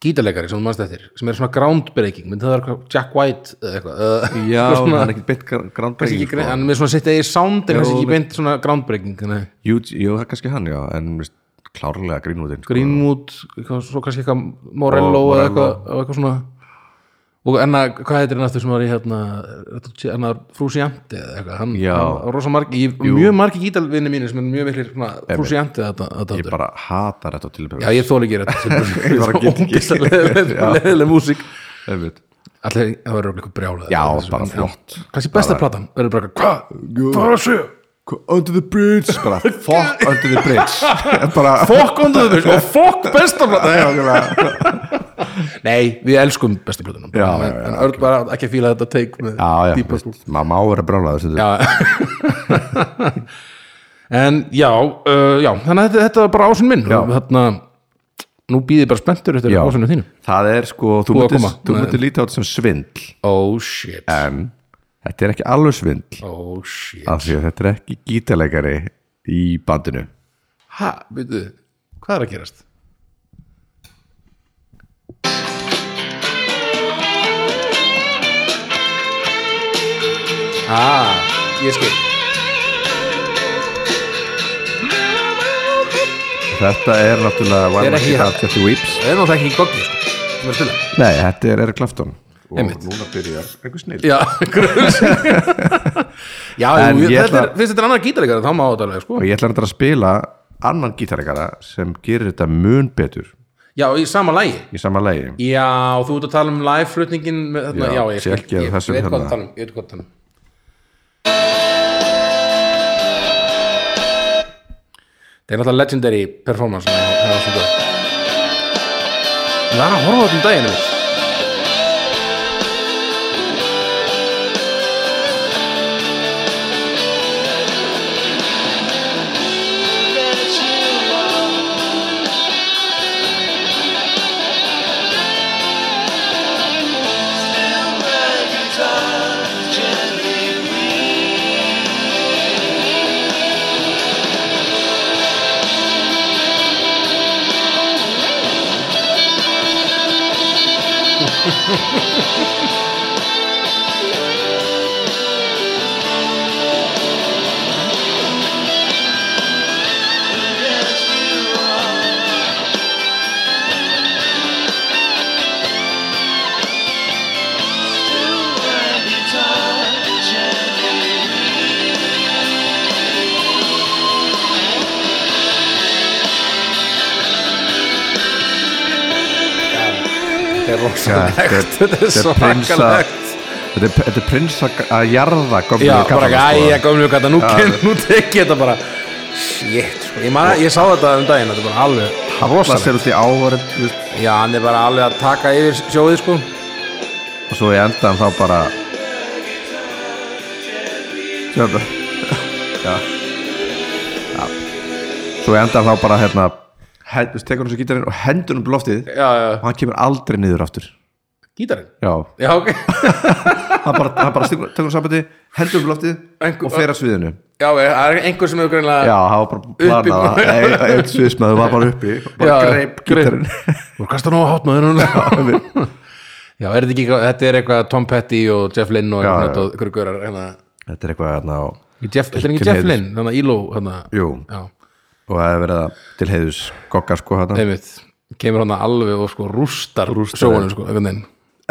Speaker 2: gítarleikari sem þú manst eftir sem er svona groundbreaking, myndi það vera hvað- Jack White eða eitthvað eða-
Speaker 1: já,
Speaker 2: eitthvað svona,
Speaker 1: Sko, hann er ekkert beint
Speaker 2: kannski
Speaker 1: gránbreking
Speaker 2: ekki,
Speaker 1: sko.
Speaker 2: sko. hann er með svona sitt eða í sound en
Speaker 1: Já,
Speaker 2: kannski ekki
Speaker 1: mitt.
Speaker 2: beint svona groundbreaking nei.
Speaker 1: jú, jú, það er kannski hann, já en veist, klárlega grínvúðin sko.
Speaker 2: Greenwood, eitthvað, svo kannski eitthvað Morello
Speaker 1: Og
Speaker 2: eða
Speaker 1: Morello.
Speaker 2: eitthvað, eða eitthvað svona og enna, hvað heitir hann aftur sem var í hérna, hérna Frúsianti eða eitthvað, hann,
Speaker 1: Já.
Speaker 2: hann var rosa margi ég, mjög margi gítalvinni mínu sem er mjög miklir Frúsianti þetta, þetta
Speaker 1: ég
Speaker 2: aftur.
Speaker 1: bara hata þetta til
Speaker 2: Já, ég þóla ekki þetta
Speaker 1: Ég bara get ekki. Já.
Speaker 2: leðileg músík
Speaker 1: einmitt
Speaker 2: Allir, það verður örugglega eitthvað brjálað
Speaker 1: Já,
Speaker 2: Þessu-
Speaker 1: bara
Speaker 2: en-
Speaker 1: flott.
Speaker 2: Kannski besta platan, verður bara eitthvað, hvað, hvað er að segja
Speaker 1: Under the bridge bara fuck under the bridge bara
Speaker 2: Fokk ondur þau, fokk besta platan
Speaker 1: Nei, okkurlega.
Speaker 2: Nei, við elskum bestu plötunum
Speaker 1: Já, já,
Speaker 2: en, en Örn bara ekki að fíla þetta teik með
Speaker 1: já, já,
Speaker 2: Deep Purple.
Speaker 1: veist, maður má vera brjólaður stundum.
Speaker 2: En já, uh, já þannig að þetta, þetta var bara ásinn minn og þarna, nú býðið bara spenntur eftir
Speaker 1: Já.
Speaker 2: ásinu þínum
Speaker 1: það er sko, þú
Speaker 2: Þú að
Speaker 1: myndir,
Speaker 2: koma.
Speaker 1: þú
Speaker 2: Nei.
Speaker 1: myndir líta á þetta sem svindl
Speaker 2: Oh shit,
Speaker 1: en þetta er ekki alveg svindl
Speaker 2: oh shit
Speaker 1: af því að þetta er ekki gítarleikari í bandinu
Speaker 2: Ha, veitu, hvað er að gerast? Ah, ég skil
Speaker 1: þetta er náttúrulega Why
Speaker 2: Er
Speaker 1: Must
Speaker 2: ekki
Speaker 1: You
Speaker 2: það.
Speaker 1: Have Just Weeps
Speaker 2: Það er náttúrulega ekki í goggi sko. Þú verður stilla
Speaker 1: nei, þetta er Eric Clapton og
Speaker 2: Einmitt.
Speaker 1: núna byrjar einhver snill
Speaker 2: Já, grunns Já,
Speaker 1: En
Speaker 2: jú, þetta
Speaker 1: ég ætla-
Speaker 2: er, finnst þetta er annar gítarleikari þá má þetta alveg, sko
Speaker 1: og ég ætla að spila annan gítarleikara sem gerir þetta mun betur
Speaker 2: Já, í sama lægi
Speaker 1: í sama lagi
Speaker 2: Já, þú ert að tala um live-flutningin með þarna,
Speaker 1: Já,
Speaker 2: já, ég skil,
Speaker 1: sjekkið
Speaker 2: ég,
Speaker 1: þessum
Speaker 2: veit hvað
Speaker 1: hérna.
Speaker 2: það tala um, ég veit hvað það tala um Það er náttúrulega legendary performance sem ég hef á svona dag. Ég var að horfa á þetta um daginn einmitt. Þetta er rosalegt,
Speaker 1: þetta er-
Speaker 2: þetta er
Speaker 1: þetta er prinsa-
Speaker 2: svakalegt
Speaker 1: þetta er, þetta er prins að, að jarða gömlu
Speaker 2: Já, bara
Speaker 1: kallana,
Speaker 2: ekki,
Speaker 1: sko.
Speaker 2: æja, gömlu gata, nú, kem- nú tek ég þetta bara Shit, sko, ég, man, ég sá þetta um daginn, þetta er bara alveg
Speaker 1: hallar sér út í áhverjum þú veist,
Speaker 2: Já, hann er bara alveg að taka yfir sjóðið, sko
Speaker 1: og svo í endan þá bara Sjöfnda Já. Já. svo í endan þá bara hérna hen- þú veist, tekur hann svo gítarinn og hendur hann upp í loftið
Speaker 2: Já, já,
Speaker 1: og hann kemur aldrei niður aftur
Speaker 2: gítarinn
Speaker 1: já,
Speaker 2: Já, ok,
Speaker 1: hann bara, hann bara stigur, tekur hann sambandi hendur upp í loftið
Speaker 2: Einhver-
Speaker 1: og fer að sviðinu
Speaker 2: já, ok, það er einhver sem hefur
Speaker 1: já,
Speaker 2: greinlega
Speaker 1: hann var bara planað
Speaker 2: bara-
Speaker 1: að- e- einn sviðsmaður var bara uppi og bara
Speaker 2: Já,
Speaker 1: greip
Speaker 2: greip.
Speaker 1: gítarinn
Speaker 2: Þú er kastan á að hátna þennan Já, er þetta ekki, eitthvað- þetta er eitthvað Tom Petty og Jeff Lynn og
Speaker 1: Já, já.
Speaker 2: eitthvað hverju görar hérna
Speaker 1: þetta er eitthvað hérna og,
Speaker 2: Ekki Jeff- Þetta er ekki
Speaker 1: Til
Speaker 2: Jeff
Speaker 1: heiðurs.
Speaker 2: Lynn, þannig að Íló hérna
Speaker 1: jú,
Speaker 2: Já,
Speaker 1: og það hefur verið að til heiðus gogga sko hérna
Speaker 2: einmitt Kemur hann alveg og sko rústar, rústar sjóðunum sko, einhvern veginn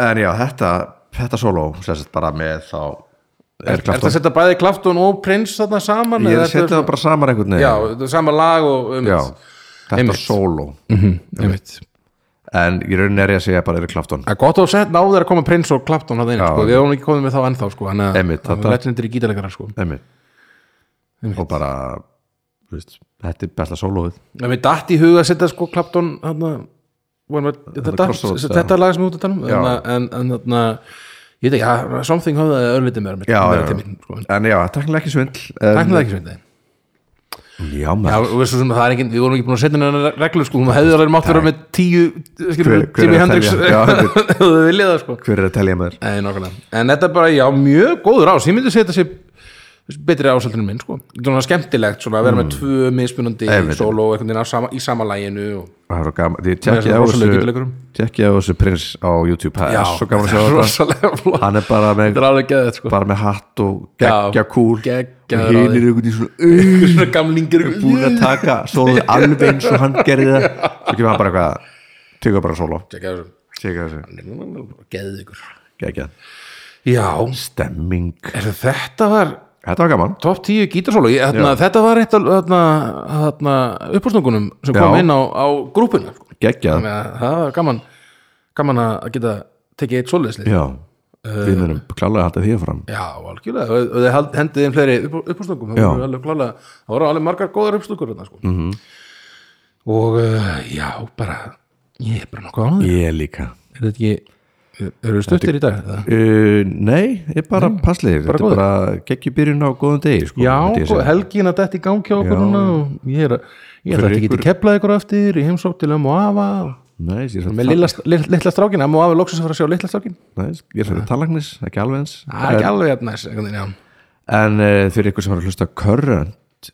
Speaker 1: En já, þetta, þetta solo sérst bara með þá er
Speaker 2: Er þetta
Speaker 1: klart
Speaker 2: að setja bæði Klafton og Prince þarna saman?
Speaker 1: Ég
Speaker 2: eða þetta
Speaker 1: er að setja
Speaker 2: er
Speaker 1: það bara saman einhvern
Speaker 2: svona-
Speaker 1: veginn
Speaker 2: Já, þetta er sama lag og
Speaker 1: Já,
Speaker 2: einmitt,
Speaker 1: þetta
Speaker 2: Einmitt. Mhm.
Speaker 1: solo
Speaker 2: einmitt.
Speaker 1: En í rauninni er ég að segja bara Eric Clapton
Speaker 2: Það er gott að setja náður að koma Prince og Klafton hann inn,
Speaker 1: Já,
Speaker 2: sko, við erum ekki komið með þá ennþá sko, hann er
Speaker 1: Einmitt, þetta-
Speaker 2: legendary gítarleikara sko.
Speaker 1: Einmitt.
Speaker 2: Einmitt.
Speaker 1: Og bara þú veist, Þetta er besta soloið
Speaker 2: Ef við datt í huga að setja sko Clapton hana, vorum við- þetta,
Speaker 1: Crossroads,
Speaker 2: þetta, þetta er lag sem við út að tala um
Speaker 1: Já.
Speaker 2: en- en en þarna ég veit ekki, ja, something höfði að öllítið meira mér
Speaker 1: Já,
Speaker 2: meira
Speaker 1: já.
Speaker 2: til mín, sko, en
Speaker 1: en já, takkilega ekki svindl
Speaker 2: tæknilega ekki sveit
Speaker 1: ekki já,
Speaker 2: Já,
Speaker 1: maður
Speaker 2: og svo sem það er ekki, við vorum ekki búin að setja neina reglur sko, maður hefði alveg mátt vera með tíu skilur,
Speaker 1: Hver- hver
Speaker 2: Jimi
Speaker 1: er að
Speaker 2: Hendrix
Speaker 1: telja? Já,
Speaker 2: ef þú viljið það sko
Speaker 1: hver er að telja maður
Speaker 2: Nei, nákvæmlega. en þetta er bara, já, mjög góður ás ég myndi setja sér betri ásaldurinn minn sko, þetta er svona skemmtilegt svona að vera
Speaker 1: Mm.
Speaker 2: með tvö mismunandi
Speaker 1: Einmitt.
Speaker 2: solo einhvern veginn á sama, í sama læginu og...
Speaker 1: það er svo gaman,
Speaker 2: Með
Speaker 1: ég
Speaker 2: þessum
Speaker 1: tjekkið á
Speaker 2: rosalegu
Speaker 1: þessu
Speaker 2: gítarleikurum.
Speaker 1: tjekkið á þessu prins á YouTube það er svo gaman að
Speaker 2: þetta er
Speaker 1: sjá þetta
Speaker 2: rosalega flott.
Speaker 1: hann er bara með,
Speaker 2: þetta er alveg geðið sko
Speaker 1: bara með hatt og
Speaker 2: Já,
Speaker 1: geggja kúl
Speaker 2: geggjaður á því.
Speaker 1: og hinir einhvern í svona "Ugh",
Speaker 2: svona gamlingir
Speaker 1: búin að taka sólóðu alveg eins og hann gerði það svo kemur hann bara eitthvað tekur bara sóló tekur þessu
Speaker 2: geðið ykkur
Speaker 1: geggja
Speaker 2: já,
Speaker 1: stemming
Speaker 2: er þetta var
Speaker 1: þetta var gaman
Speaker 2: Top 10 gítarsólu, ég, þarna, þetta var eitt af þarna, þarna, uppástungunum sem kom
Speaker 1: Já.
Speaker 2: inn á, á grúpuna sko.
Speaker 1: geggja
Speaker 2: Þannig að það var gaman, gaman að geta tekið eitt svoleiðslið
Speaker 1: já við munum klálega að halda því fram
Speaker 2: Já, algjörlega, og, og þið hald- hendið þeim fleiri upp, uppástungum, það
Speaker 1: Já.
Speaker 2: voru alveg klálega það voru alveg margar góðar uppástungur þarna, sko. mm -hmm. og uh, já, bara ég er bara nokkuð ánægður
Speaker 1: ég líka
Speaker 2: er þetta ekki, eru stuttir í dag? eða?
Speaker 1: uh, nei, ég bara passliðir þetta
Speaker 2: góður.
Speaker 1: er bara geggjubyrjun á góðum degi sko,
Speaker 2: Já,
Speaker 1: myndi ég
Speaker 2: og
Speaker 1: segja.
Speaker 2: helgin að þetta í gangi á okkur
Speaker 1: Já.
Speaker 2: núna og ég er að, ég ætla
Speaker 1: Fyrir
Speaker 2: ekki
Speaker 1: ykkur-
Speaker 2: að kepla ykkur aftur, ég heimsótt til um og afa og
Speaker 1: Nei, ég er
Speaker 2: með
Speaker 1: svolítið
Speaker 2: litla, litla, litla strákin hann má alveg loksins að fara að sjá litla strákin
Speaker 1: Ah. tallagnis, ekki alveg eins
Speaker 2: það er ekki alveg jafn næs einhvern veginn, já.
Speaker 1: en uh, fyrir ykkur sem var að hlusta á Current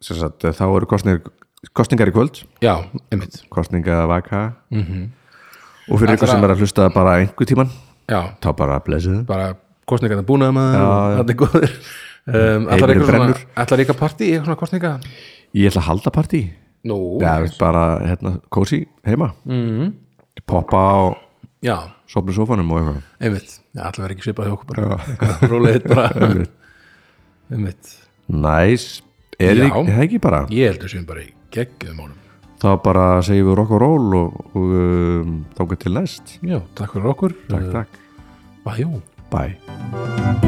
Speaker 1: sem sagt, eh, þá eru kostningar, kostningar í kvöld
Speaker 2: já, einmitt
Speaker 1: kostningavaka mm
Speaker 2: Mhm.
Speaker 1: og fyrir ykkur sem er að hlusta bara einhver tíman
Speaker 2: já,
Speaker 1: þá bara blessuðu
Speaker 2: bara kostningarna búnaðum að það er góður um, ætlar
Speaker 1: Heimurinn
Speaker 2: eitthvað svona,
Speaker 1: brennur.
Speaker 2: ætlar eitthvað partí eitthvað svona kostninga
Speaker 1: ég ætla að halda partí
Speaker 2: nú,
Speaker 1: Já, við bara hérna, kósi heima mm
Speaker 2: Mhm.
Speaker 1: -hmm. poppa á
Speaker 2: já,
Speaker 1: sopni sofanum og eitthvað
Speaker 2: einmitt já, ætlar verið ekki svipað hjá okkur bara rólega hitt bara
Speaker 1: Einmitt.
Speaker 2: einmitt,
Speaker 1: næs, er
Speaker 2: Já.
Speaker 1: þið- er það ekki bara
Speaker 2: ég heldur sem bara í geggjum málum
Speaker 1: þá bara segjum við rock og roll og, og um, þá getur til næst
Speaker 2: já, takk fyrir okkur
Speaker 1: takk, takk,
Speaker 2: bæjó
Speaker 1: bye